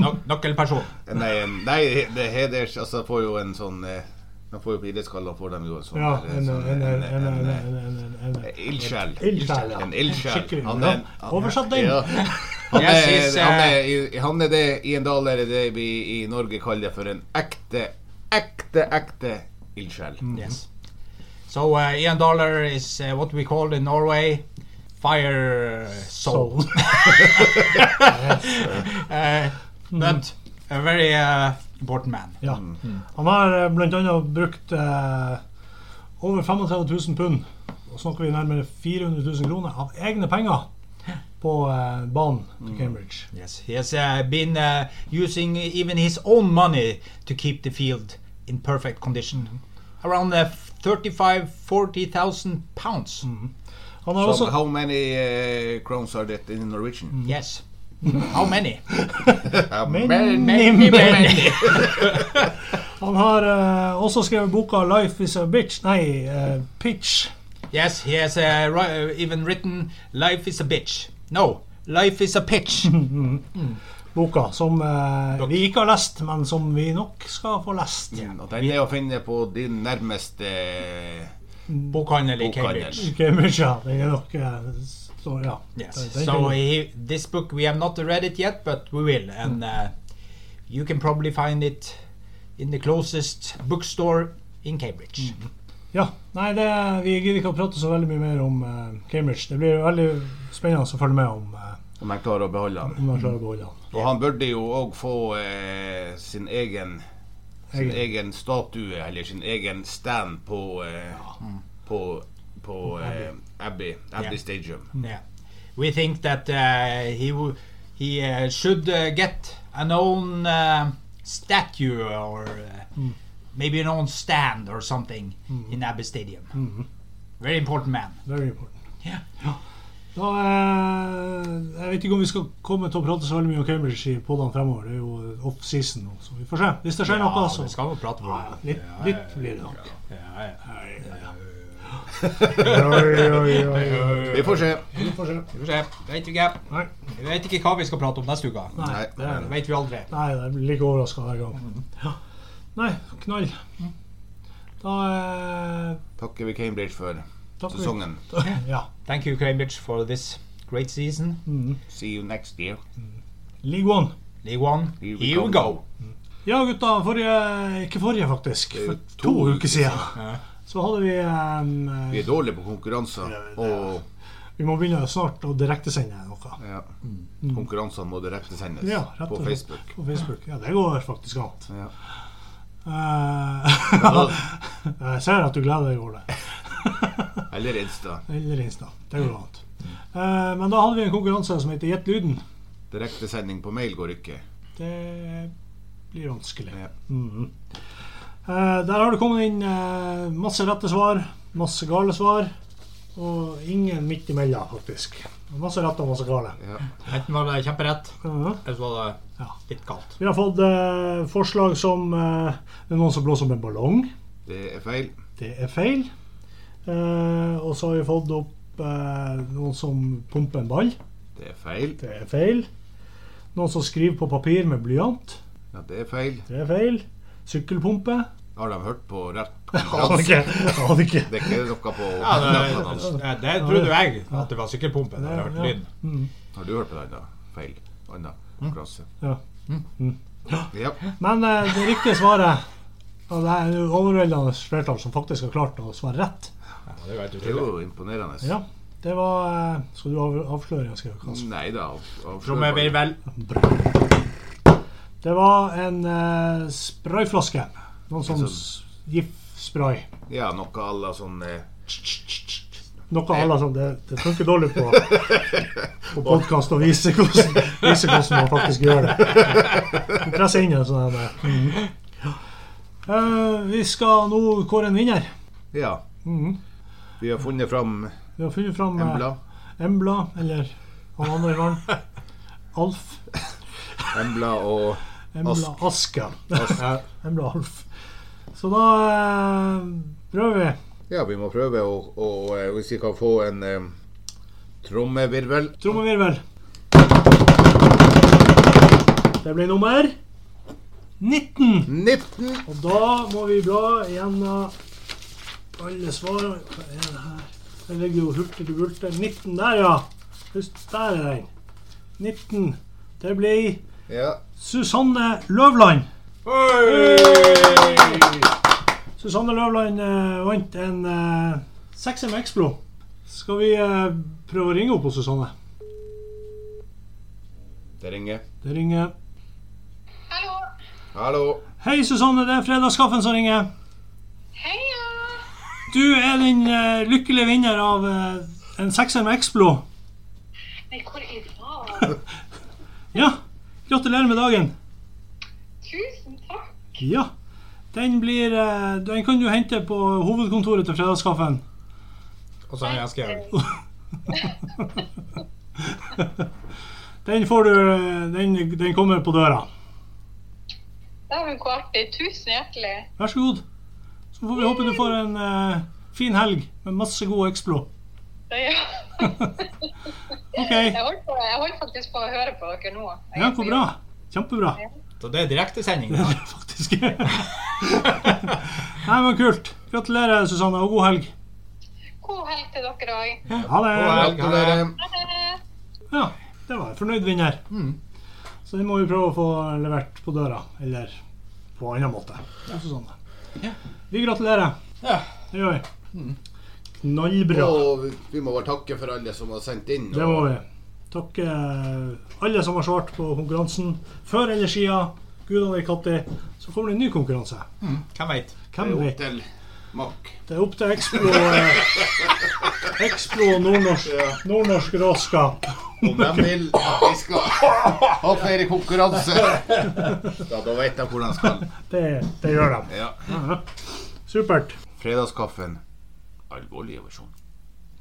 No, nøkkelperson.
Nei, en, nei det heders... Altså, får jo en sånn eh, De får jo på idrettskaller, får de jo en sånn
Ja,
eh,
en,
sånn,
en, en,
eh,
en, en,
en, eh,
en, en, en, en.
Ildsjel.
Ildsjel, ja.
En ildsjel.
Skikkelig,
Han
ja.
er, han-
Oversatt den.
Ja. Han,
Yes, he's,
er,
uh,
han, er, han er det Ian Dahl er det vi i Norge kaller for en ekte, ekte, ekte ildsjel.
Yes. So uh, Ian Dollar is uh, what we call in Norway fire soul.
Soul.
(laughs) Uh, but a very uh, important man.
Ja. Han har eh, blant annet brukt eh, over 35 000 pund, og snakker vi nærmere 400 000 kroner, av egne penger på eh, banen til Cambridge.
Yes, he has uh, been uh, using even his own money to keep the field in perfect condition. Around uh, 35 40,000 pounds.
Han har
So,
også
how many eh, crowns are that in Norwegian?
Yes. How many?
How
Men-
Mm. (laughs) Many, many. (laughs)
Han har eh, også skrevet boka 'Life is a Bitch'. Nei, eh, 'Pitch'.
yes, he has uh, ri- uh, even written Life is a Bitch. No, Life is a (laughs) Pitch.
Boka som eh, vi ikke har lest, men som vi nok skal få lest.
Og den er å finne på din nærmeste eh,
Bokhandel i Cambridge.
bokhandel.
Ikke mye, ja. Den er nok eh, så, ja. Den-
Yes.
den
So
finner-
he, this book we have not read it yet, but we will, and
Hmm.
uh, you can probably find it in the closest bookstore in Cambridge.
Hmm. Ja, nei, det, vi gidder ikke å prate så veldig mye mer om eh, Cambridge. Det blir veldig spennende å følge med om, eh,
Om han klarer å beholde han.
om de klarer å beholde han.
Og han burde jo òg få eh, sin egen sin
Egen.
egen statue eller sin egen stand på eh, på, på eh, Abbey, Abbey
Ja.
Stadium.
Hmm.
Yeah, we think that uh, he w- he uh, should uh, get an own uh, statue or uh,
Hmm.
maybe an own stand or something in Abbey Stadium.
Hmm.
Very important man.
Very important.
Yeah.
Da, eh, jeg vet ikke om vi skal komme til å prate så veldig mye om Cambridge i podene fremover. Det er jo off-season nå, så vi får se. Hvis det skjer noe, så
det skal vi prate om.
Ja, ja, litt,
Ja,
litt blir det nok.
ja, ja.
Oi, oi, oi, oi.
Vi får se.
Vi får se.
Vi får se. Vet ikke.
Nei,
Jeg vet ikke hva vi skal prate om neste uke.
nei, Mm.
Nei.
det er
Det
det.
vet vi aldri.
Nei, jeg blir like overraska hver gang. Ja. Nei, knall. Da eh,
Takker vi Cambridge for
takker vi-
sesongen.
(laughs) Ja.
Thank you, Cambridge, for this great season.
See you next year.
League One.
League One,
Here
here
we
we,
come.
go.
Ja, gutta. Forrige Ikke forrige, faktisk.
er jo
For to,
to uker
uker siden. Så hadde vi em,
Vi er dårlige på konkurranser. Og
Vi må begynne snart å direktesende noe.
ja. konkurransene må direktesendes
Mm. Ja, rett
på
og slett.
Facebook.
På Facebook. Ja, det går faktisk
(laughs)
an.
Ja.
Eh, (laughs) jeg ser at du gleder deg over det.
Eller Insta.
Eller Insta. Det går an.
Mm.
Eh, men da hadde vi en konkurranse som heter Gjett lyden.
Direktesending på mail går ikke.
Det blir vanskelig.
Ja.
Mhm. Eh, der har det kommet inn eh, masse rette svar, masse gale svar, og ingen midt imellom, faktisk. Masse rette og masse gale.
Ja.
Enten var det kjemperett,
Mhm.
eller så var
Ja.
det litt kaldt.
Vi har fått eh, forslag som eh, det er noen som blåser opp en ballong.
Det er feil.
Det er feil. Eh, og så har vi fått opp eh, noen som pumper en ball.
Det er feil.
Det er feil. Noen som skriver på papir med blyant.
Ja, det er feil.
Det er feil. Sykkelpumpe.
Har de hørt på
(laughs)
rett
Aner
konkurranse?
ikke. Aner ikke.
Det er ikke noe på
Ja, det,
nettene hans.
det, det trodde jo jeg, at det var sykkelpumpe. Da jeg hørte
Ja.
lyden.
Mm.
Har du hørt på den, da? Feil. Anna konkurranse.
Hm? Ja.
Ja.
Men eh, det riktige svaret og det er jo overveldende flertall som faktisk har klart å svare rett.
Ja, det er jo helt
Det er
utrolig.
jo imponerende.
Ja, det var eh, Skal du av- avsløre? Jeg skal kaste.
Nei da.
Trommevirvel.
Det var en eh, sprayflaske. Noen sånn
Sånn.
s- giftspray.
Ja, noe à la sånn eh,
Noe alle sånn Det, det funker dårlig på, på podkast å vise hvordan, vise hvordan man faktisk gjør det. Du presser inn en sånn her. eh, eh, vi skal nå kåre en vinner.
Ja.
Mhm.
Vi har funnet fram
Vi har funnet fram eh,
Embla.
Embla, eller han andre i verden. Alf.
Embla og
Embla
Ask.
Aska.
Ja.
Embla Alf. Så da eh, prøver vi.
Ja, vi må prøve å, å eh, Hvis vi kan få en eh, trommevirvel
Trommevirvel. Det blir nummer 19.
19!
Og da må vi bla gjennom alle svarene. Hva er det her? Der ligger jo hurtig til bulter. 19 der, ja. Husk, der er den. 19. Det blir
Ja.
Susanne Løvland.
Oi!
Susanne Løvland eh, vant en eh, sekser med Explo. Skal vi eh, prøve å ringe opp hos Susanne?
Det ringer.
Det ringer.
Hallo.
Hallo.
Hei, Susanne. Det er Fredagskaffen som ringer.
Heia.
Du er den eh, lykkelige vinner av eh, en sekser med Explo.
Nei, hvor er faen?
Ja. Gratulerer med dagen.
Tusen takk.
Ja. Den, blir, eh, den kan du hente på hovedkontoret til Fredagskaffen.
Og så har jeg skrevet
Den får du eh, Den, den kommer på døra.
Dæven, hvor artig. Tusen hjertelig.
Vær så god. Så får vi håpe du får en eh, fin helg med masse god Explo.
Det, ja.
(laughs) OK.
Jeg holdt, på, jeg holdt faktisk på å høre på dere nå. Jeg
Ja,
er
hvor
på
bra.
jobb.
Kjempebra. (laughs)
Så det er
(laughs)
direktesending.
Det
da.
er det faktisk. (laughs) Nei, men kult. Gratulerer, Susanne, og god helg.
God helg til dere òg.
Ha
God
det.
helg.
Gratulerer.
Ha det.
Ja, det var en fornøyd vinner.
Mm.
Så den må vi prøve å få levert på døra, eller på annen måte. Ja, Susanne.
Ja. Mm.
Vi gratulerer.
Ja.
Det gjør vi. Knallbra.
Og vi- vi må bare takke for alle som har sendt inn.
Det må vi. Takk eh, alle som har svart på konkurransen. Før eller siden, gudene vet når, så kommer det en ny konkurranse.
Hvem veit?
Hvem
Opp
vet?
til Mack.
Det er opp til Explo eh, Explo nordnorsk, nordnorsk råskap.
Om de vil at vi skal ha flere konkurranser, ja, da vet de hvor de skal.
Det, det gjør de.
Ja.
Supert.
Fredagskaffen. Alvorlige versjon.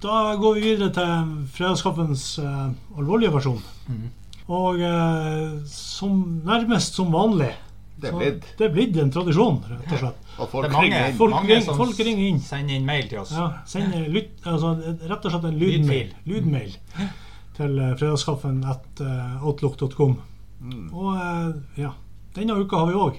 Da går vi videre til fredagskaffens eh, alvorlige versjon. Og eh, som, nærmest som vanlig
Det er
så-
blitt.
Det er blitt en tradisjon, rett og slett.
Og
Det
folk
er mange,
ringer inn.
Folk
mange
ring-
som
folk ringer inn.
sender inn mail til oss.
Ja, send eh, lytt, altså, rett og slett en lydmail, lydmail til eh, fredagskaffen at eh, outlook.com. Og eh, ja, denne uka har vi òg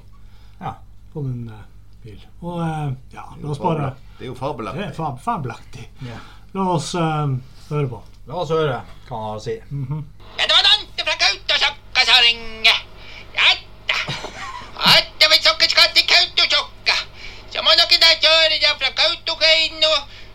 Ja.
fått en eh, bil. Og eh, ja, la
Det er jo
oss bare
fabelaktig. Det er jo
Det er
fabelaktig.
fab, fabelaktig.
Ja.
La oss eh, høre på.
La oss høre hva han har å si.
Ja, det var Dante fra Kautokeino som ringer. Jatta. Atta ved sokken skal til Kautokeino. Så må dere da kjøre da fra Kautokeino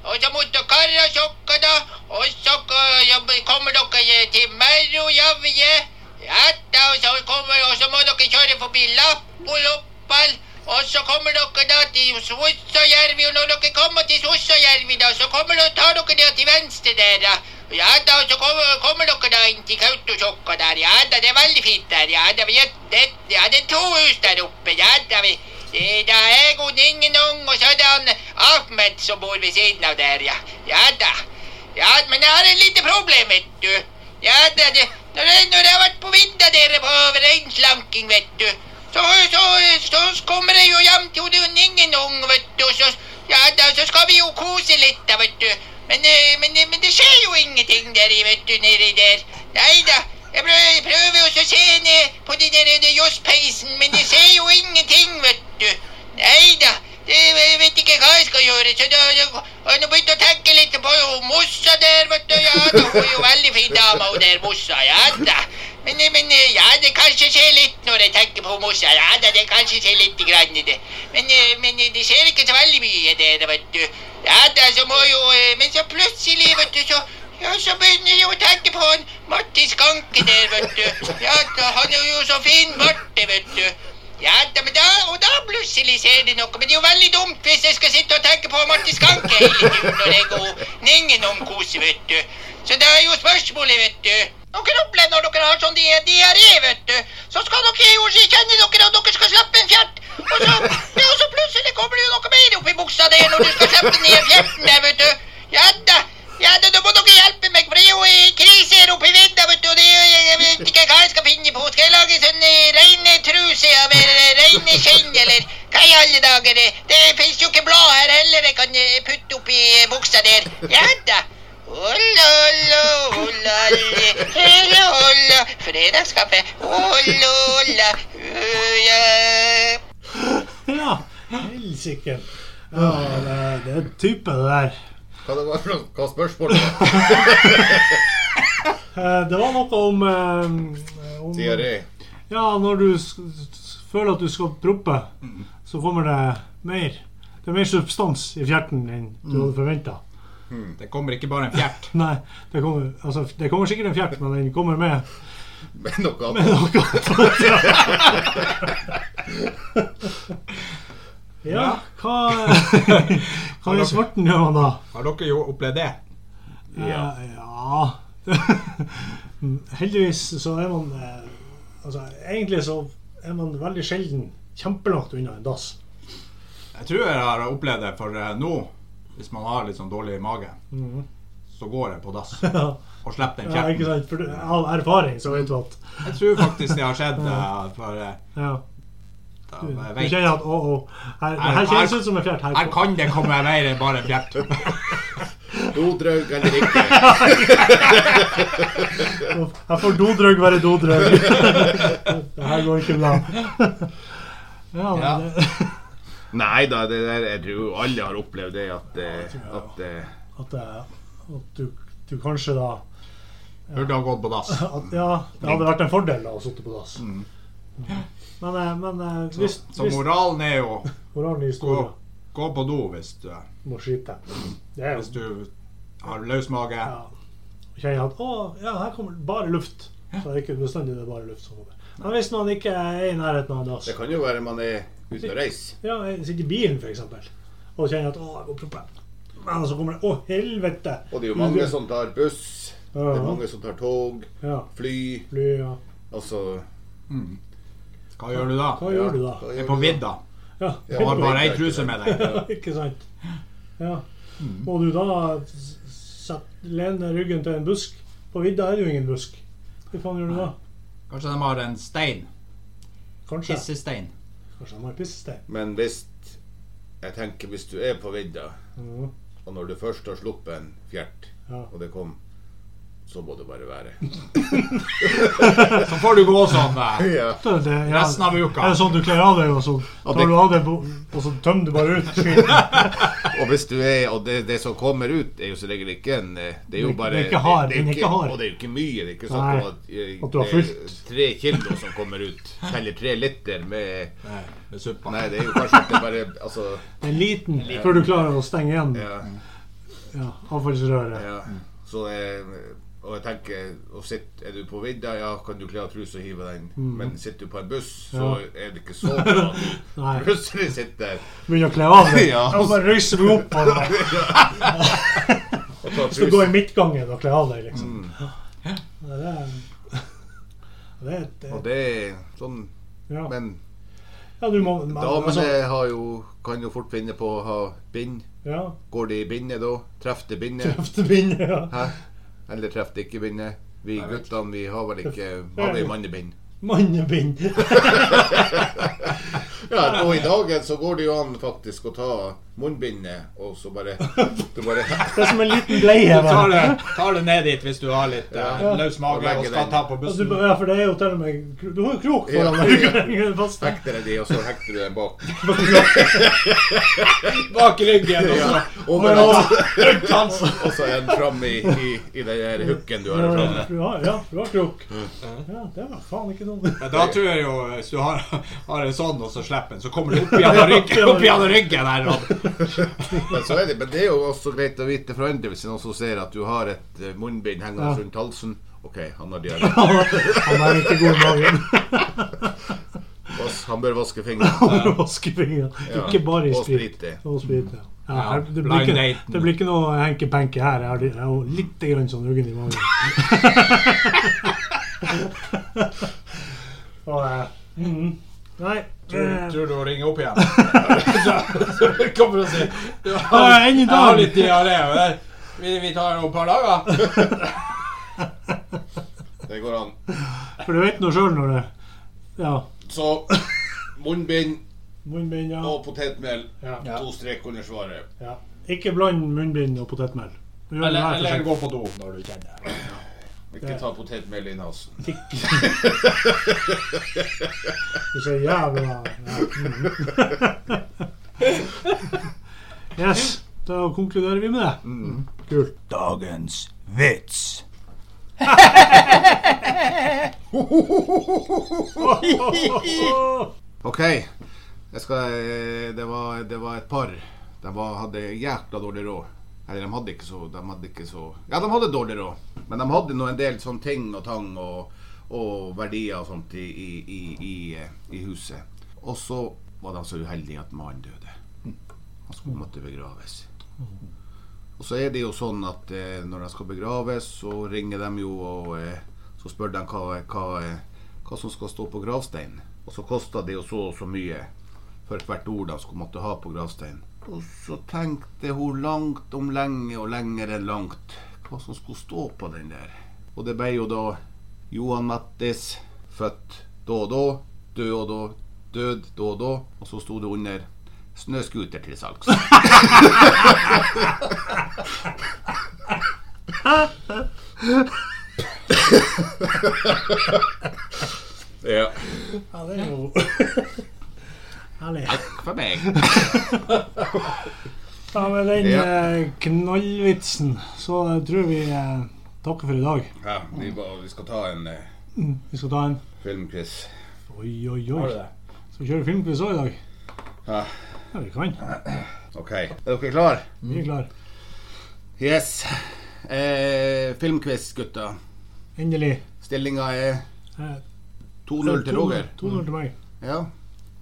og så mot Karasjokka, da. Og så eh, ja, kommer dere eh, til Merojavje. Jatta, og så kommer Og så må dere kjøre forbi Lappoloppal. Og så kommer dere da til Svossajärvi, og når dere kommer til Svossajärvi, da, så kommer dere, tar dere da til venstre der, da. Ja da, og så kommer, kommer dere da inn til Kautokeino der, ja da, det er veldig fint der, ja da. Vi er, det, ja, det er to hus der oppe, ja da. vi... Det da er jeg og Ningenong, og så er det han Ahmed som bor ved siden av der, ja. Ja da. Ja, men jeg har et lite problem, vet du. Ja da, det, når, jeg, når jeg har vært på vidda dere på over reinslanking, vet du. så, så, så, kommer jeg jo hjem til dronningen, ung, vet du. og Så, ja da, så skal vi jo kose litt, da, vet du. Men, eh, men, eh, men det skjer jo ingenting der, i, vet du, nedi der. Nei da. Jeg prøver, jeg prøver jo å se ned på den der den josspeisen, men jeg ser jo ingenting, vet du. Nei da. Jeg jeg vet ikke hva jeg skal gjøre, så da da- har jeg nå begynt å tenke litt på jo, Mossa der, vet du. Ja da, hun er jo veldig fin dame, hun der Mossa. Ja da. Men, men ja, det kanskje skjer litt når jeg tenker på Mossa. Ja da, det kanskje skjer litt grann i det. Men, eh, men det skjer ikke så veldig mye der, vet du. Ja da, så må jo eh, Men så plutselig, vet du, så ja, så begynner jeg å tenke på han Marti Skanke der, vet du. Ja, da, han er jo så fin, Marte, vet du. Ja, da, men da, og da plutselig ser det noe. Men det er jo veldig dumt hvis jeg skal sitte og tenke på Marti Skanke hele tiden når jeg og Ningen omkoser, vet du. Så det er jo spørsmålet, vet du. Dere opplever når dere har sånn di diaré, vet du. Så skal dere jo ikke kjenne dere, og dere skal slappe en fjert. Og så, ja, og så plutselig kommer det jo noe mer opp i buksa der når du skal slappe ned fjerten der, vet du. Ja da. Ja, da, da må dere hjelpe meg, for det er jo eh, krise her oppe i vidda, vet du. og Det er, jo- jeg, jeg vet ikke hva jeg skal finne på. Skal jeg lage sånn eh, reine truse av eh, reine skinn, eller hva i alle dager? eh? Det fins jo ikke blad her heller jeg kan eh, putte oppi eh, buksa der. Ja da. Olle, olle, olle, olle, hele olle, fredagskaffe, olle, olle, uja.
Ja, helsike. Ja, det, er- det er en type, det der.
Hva det var for hva spørsmålet var?
Eh, Det var noe om, eh, om
Diaré.
Ja, når du s- s- føler at du skal proppe, så kommer det mer. Det er mer substans i fjerten enn du hadde forventa.
Det kommer ikke bare en fjert.
Nei, det kommer, altså, det kommer sikkert en fjert, men den kommer med
Men noe
med
annet.
noe annet. (laughs) Ja, hva, hva er svarten gjør man da? Eh,
Har dere jo opplevd det?
Ja. (laughs) ja. Heldigvis så er man eh, altså, Egentlig så er man veldig sjelden kjempelangt unna en dass. (laughs)
Jeg tror jeg har opplevd det, for eh, nå, hvis man har litt sånn dårlig mage, så går jeg på dass
Mm. Ja,
og slipper den
ikke
fjerten.
sant? For du- av erfaring så vet du at
Jeg tror faktisk det har skjedd, eh, for eh,
ja,
da-
Du
jeg
du
vet
kjenner at å, å, her, det
Her-
her kjennes ut som en fjert
Her
her. på.
kan det komme mer enn bare en fjert.
Dodraug eller ikke.
Her får dodraug være
(laughs)
dodraug. det her går ikke bra. ja, men
Ja.
Det,
Nei da, det der jeg tror jo alle har opplevd det at, eh, at eh,
at, eh, at du, du kanskje da
Burde ha gått på dass.
at, Ja, det hadde vært en fordel da å sitte på dass. Men, eh, men eh, hvis,
Mm. Så
hvis
moralen er jo
moralen i
gå,
historien
gå på do hvis du,
må skite Det er
hvis
jo
du har løs mage.
ja, Kjenner at å, ja, her kommer det bare luft. Så det er ikke bestandig det er bare luft som kommer. Men hvis man ikke er i nærheten av en dass
Det kan jo være man er ute og reiser.
Ja, jeg sitter i bilen for eksempel og kjenner at å, jeg går proppen. Men så kommer det å, helvete!
Og det er jo mange
Mm.
som tar buss, det er mange som tar tog,
Ja,
fly
fly, ja.
Altså
Hva gjør du da?
Hva gjør du da?
hva
Er
gjør
på
du da?
vidda
Ja,
Ja,
og har bare ei
vidda,
truse med deg.
(laughs) Ja, ikke sant? Ja. Må du da s- sette, lene ryggen til en busk? På vidda er det jo ingen busk. Hva faen gjør du da?
Kanskje de har en stein?
Kanskje
Kissestein.
Kanskje han har pissestein?
Men hvis Jeg tenker hvis du er på vidda,
Mhm.
og når du først har sluppet en fjert,
Ja.
og det kom, så må det bare
(laughs)
være.
Så får du gå sånn. eh,
Ja.
Det, det, ja.
Resten av uka.
Er det sånn du kler av deg, og så tar
det-
du av deg, bo- og så tømmer du bare ut skitten?
(laughs) Og hvis du er Og det, det som kommer ut, er jo som regel ikke en eh, Det er jo
Det-
bare
det er ikke hard,
jo
den er ikke hard.
Og det er jo ikke mye. Det er ikke sånn
Nei,
at, eh,
at du har
det er
fulgt.
Tre kilo som kommer ut. Eller tre liter med
Nei, Med suppa.
Nei, det er jo kanskje ikke bare Altså
En liten, før du klarer å stenge igjen
ja,
ja, avfallsrøret.
ja. Så eh, Og jeg tenker og sitt, Er du på vidda, ja, kan du kle av trusa og hive den.
Mm.
Men sitter du på en buss, så er det ikke så bra. at
(laughs)
du
Nei.
Plutselig sitter
Begynner å kle av deg.
(laughs) Ja.
Og bare røyser meg opp og da-
og tar
Så gå i
trusa.
midtgangen og kle av deg, liksom.
Mm.
Ja, det er det er, det
Og
er,
det er sånn
ja.
Men
ja, du må man- altså,
damene har jo, kan jo fort finne på å ha bind.
Ja.
Går det i bindet da? Treffer det bindet?
Kraftbind, ja.
Hæ? Eller treffer det ikke bindet? Vi guttene vi har vel ikke har vi mannebind? (laughs)
Mannebind.
Ja, og i dagen så går det jo an faktisk å ta munnbindet, og så
(laughs)
bare, du bare
Det er som en liten bleie.
Ta
bare.
det, ta det ned dit hvis du har litt eh,
Ja.
løs
Og
mage
legge
og skal
den.
ta på
Altså,
bussen.
du, ja, for det er jo til og med kro- (laughs) Du har jo krok foran
Ja.
deg. Fast.
hekter jeg de, og så hekter du den bak.
Bak ryggen. og
Ja,
så-
overalt.
Rundt halsen.
Og så er den fram i, i, i den der hooken du har Mm. framme.
Du har, ja, du har krok. Ja, det var faen ikke dumt.
(laughs)
Men da tror jeg jo hvis du har, har en sånn, og så slipper den, så kommer du opp igjen av ryggen, opp igjen av ryggen her. og-
Men, så er det, men det er jo også greit å vite fra andre hvis noen som ser at du har et eh, munnbind hengende rundt halsen. OK, han har diaré.
Han er ikke god i magen. (laughs)
Vas- Han bør vaske fingrene.
Han vasker fingrene.
Ja.
Ikke bare i
Og
sprit.
sprit i.
Og sprit, ja. Ja,
Ja,
her, det, blir
blind
ikke,
daten.
det blir ikke noe henke-penke her. Jeg har li- jeg har litt grann sånn ruggen i
(laughs)
magen. Og, eh, mm, nei
Tror
eh,
tror du å ringe opp igjen? (laughs) Så- Så kommer du og sier du
Ja,
har,
enn i
Jeg har
dag.
litt diaré. og det- Vi, vi tar jo et par dager.
Det går an.
eh, For du vet nå sjøl når det Ja.
Så munnbind
Munnbind, ja.
og potetmel.
ja.
To strek under svaret.
ja. Ikke bland munnbind og potetmel. Du gjør det
Eller,
her
eller
for
gå på do når du kjenner det.
Ikke ta potetmel i nesen.
(laughs) sent. Du sier jævla ja. mm. Yes. Da konkluderer vi med det.
Mm.
Kult.
Dagens vits.
OK. Jeg skal, eh, det, var, det var et par. De var, hadde jækla dårlig råd. Eller de hadde ikke så De hadde ikke så Ja, de hadde dårlig råd, men de hadde nå en del sånn ting og tang og, og verdier og sånt i, i, i, i, eh, i huset. Og så var de så uheldige at mannen døde. Han skulle måtte begraves. Og så er det jo sånn at eh, når de skal begraves, så ringer de jo og eh, så spør de hva, hva, eh, hva som skal stå på gravsteinen. Og så koster det jo så og så mye for hvert ord de skulle måtte ha på gravsteinen. Og så tenkte hun langt om lenge og lenger enn langt hva som skulle stå på den der. Og det ble jo da Johan Mattis, født da og da, død og da, død da og da. Og så sto det under 'Snøscooter til salgs'. Ja.
Ja, det er jo (laughs) Herlig.
For
(laughs)
meg.
Ja, med den
Ja.
eh, knallvitsen så tror jeg vi eh, takker for i dag.
Ja, vi, bare- vi skal ta en eh,
Vi skal ta en
filmquiz.
Oi, oi, oi.
Har du det?
Skal vi kjøre filmquiz òg i dag?
Ja.
Ja, vi kan.
OK. Er dere klare?
Vi er klare.
Yes. Eh, filmquiz, gutta.
Endelig.
Stillinga er
Eh,
2-0 til Roger. Mm.
2-0 til meg.
Ja.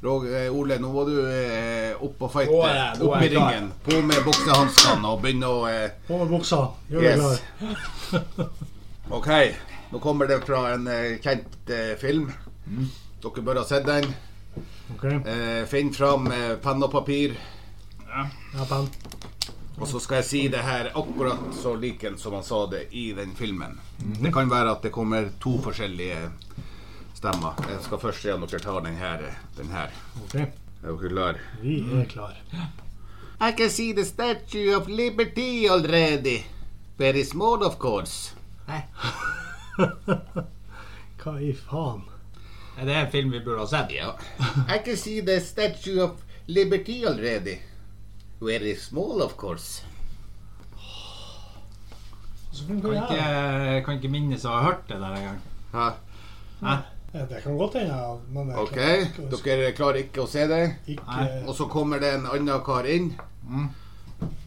Roger, eh, Ole, nå var du eh, opp og fighte.
Nå er jeg- nå
Opp
er
i
jeg klar.
ringen. På med boksehanskene og begynne å eh,
På med buksa. Gjør deg
Yes.
klar.
OK. Nå kommer det fra en eh, kjent eh, film.
Mm.
Dere bør ha sett den.
Ok,
Eh, finn fram eh, penn og papir.
ja, pen.
Og så skal jeg si det her akkurat så liken som han sa det i den filmen. Det kan være at det kommer to forskjellige stemmer. Jeg skal først se om dere tar den her. Den her.
Ok,
Er dere klar?
vi
Mm.
er klar.
I can see the Statue of Liberty already. Very small, of course.
Hva i faen?
Er det en film vi burde ha sett?
Ja. I can see the Statue of Liberty already. Very small, of course.
Så kan vi
Kan
gjøre.
ikke, kan ikke minnes å ha hørt det der engang.
Ja.
Ja, Det kan godt hende, ja, men jeg
OK,
klarer ikke å-
dere klarer ikke å se det?
ikke-
Og så kommer det en annen kar inn,
Mm.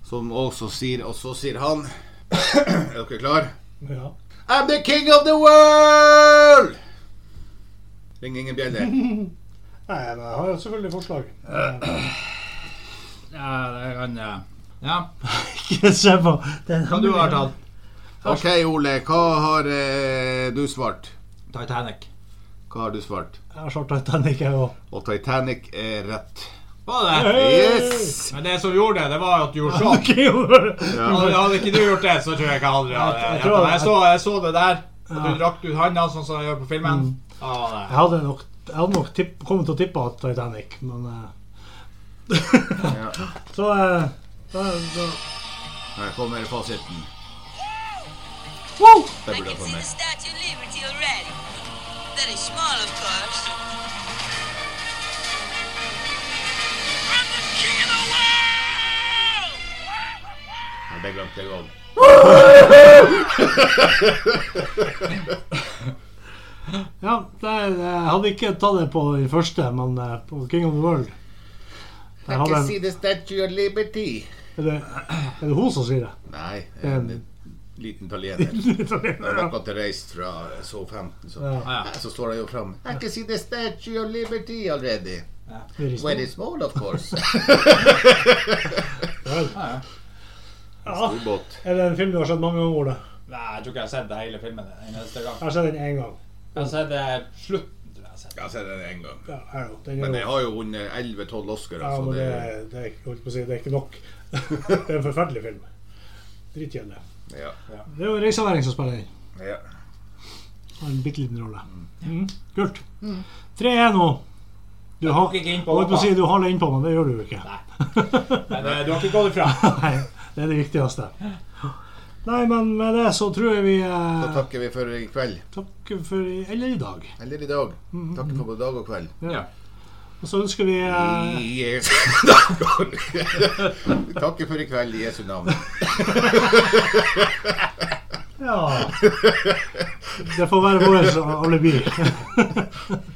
som også sier Og så sier han (clears throat) Er dere klar?
Ja.
I'm the king of the world! Ringer ingen bjelle.
(laughs) Nei, men jeg har jo selvfølgelig
(clears throat)
forslag.
Ja, det kan jeg. Ja.
Ikke se på den.
Hva du har tatt?
OK, Ole. Hva har eh, du svart?
Titanic.
Hva har du svart?
Jeg har svart Titanic, jeg òg.
Og Titanic er rett.
Var det?
Yes!
Men det som gjorde det, det var at du
(laughs)
gjorde sånn.
Ja.
Hadde, hadde ikke du gjort det, så tror jeg ikke aldri hadde
Jeg- jeg
jeg,
tror-
jeg, så, jeg så det der. At
Ja.
du rakte ut handa, sånn som jeg gjør på filmen.
Jeg hadde nok, jeg hadde nok tipp, kommet til å tippe at Titanic, men eh,
Ja.
(laughs) Så eh, da, da,
Her kommer fasiten.
wow!
Det burde
I can
jeg få
see the
med.
Statue of Liberty already. Very small, of course.
I'm the king of the world!
Nei, Det glemte jeg òg.
Ja, det, jeg hadde ikke tatt det på den første, men eh, på King of the World
I
Der hadde
can
jeg,
see the Statue of Liberty.
er, det, er det hun som sier (clears throat) det?
Nei, en liten italiener.
(laughs)
Når dere hadde reist fra så 15, så,
Ja.
så står han jo fram. I can see the Statue of Liberty already.
Very small.
Very small, of
(laughs)
course.
Ja.
Ubåt.
Er det en film du har sett mange ganger, Ole?
Nei, jeg tror ikke jeg har sett hele filmen en eneste gang.
Jeg har sett den én gang.
Jeg har sett eh, slutten. tror jeg jeg har sett.
Jeg har sett den én gang.
Ja, jeg jo. Den
Men
er
jeg
jo
har jo vunnet 11-12 Oscar,
ja,
så
men det,
det
det, er ikke- holdt på å si, det er ikke nok. (laughs) det er en forferdelig film. Dritkjedelig.
Ja.
Det er jo Reisaværing som spiller den.
ja.
Har en bitte liten rolle. Mm. Kult. 3-1 nå. Du har,
tok ikke inn på
holdt på å
hoppa.
si, du har det innpå, men det gjør du jo ikke.
Men eh, du har ikke gått ifra.
(laughs) Nei, det er det viktigste. Nei, men med det så tror jeg vi
Da
eh,
takker vi for i kveld.
takker for i Eller i dag.
Eller i dag.
Mm-hmm.
Takker for både dag og kveld.
Ja. Og så ønsker vi eh,
I (laughs) Jesu navn. Takker for i kveld i Jesu navn.
Ja. Det får være vårt alibi.
Ja.
(laughs)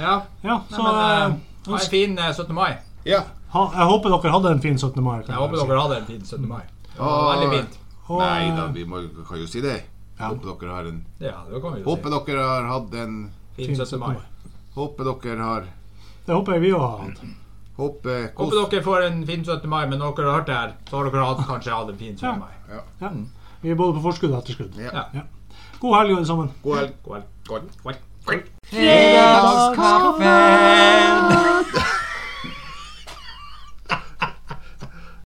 Ja, så eh,
Men, eh, ha en
ønsk-
fin eh, 17. mai.
Ja.
ha, Jeg håper dere hadde en fin 17. mai. kan
Jeg håper
si.
dere hadde en fin 17. mai. Det var
Ah.
veldig fint.
Og,
Nei da, vi må, kan jo si det.
Ja.
Håper dere har en
Ja, det kan vi jo
Håper dere har hatt en
si. Fin 17. mai.
Håper dere har
Det håper jeg vi òg har hatt.
Håper kos-
Håper dere får en fin 17. mai, men når dere har hørt det her, så har dere (laughs) hatt, kanskje hatt en fin 17. mai.
Ja. Vi er både på forskudd og etterskudd.
Mm. Ja.
Ja. God helg, alle sammen.
God helg.
God helg.
God helg.
God helg.
Fredagskaffe!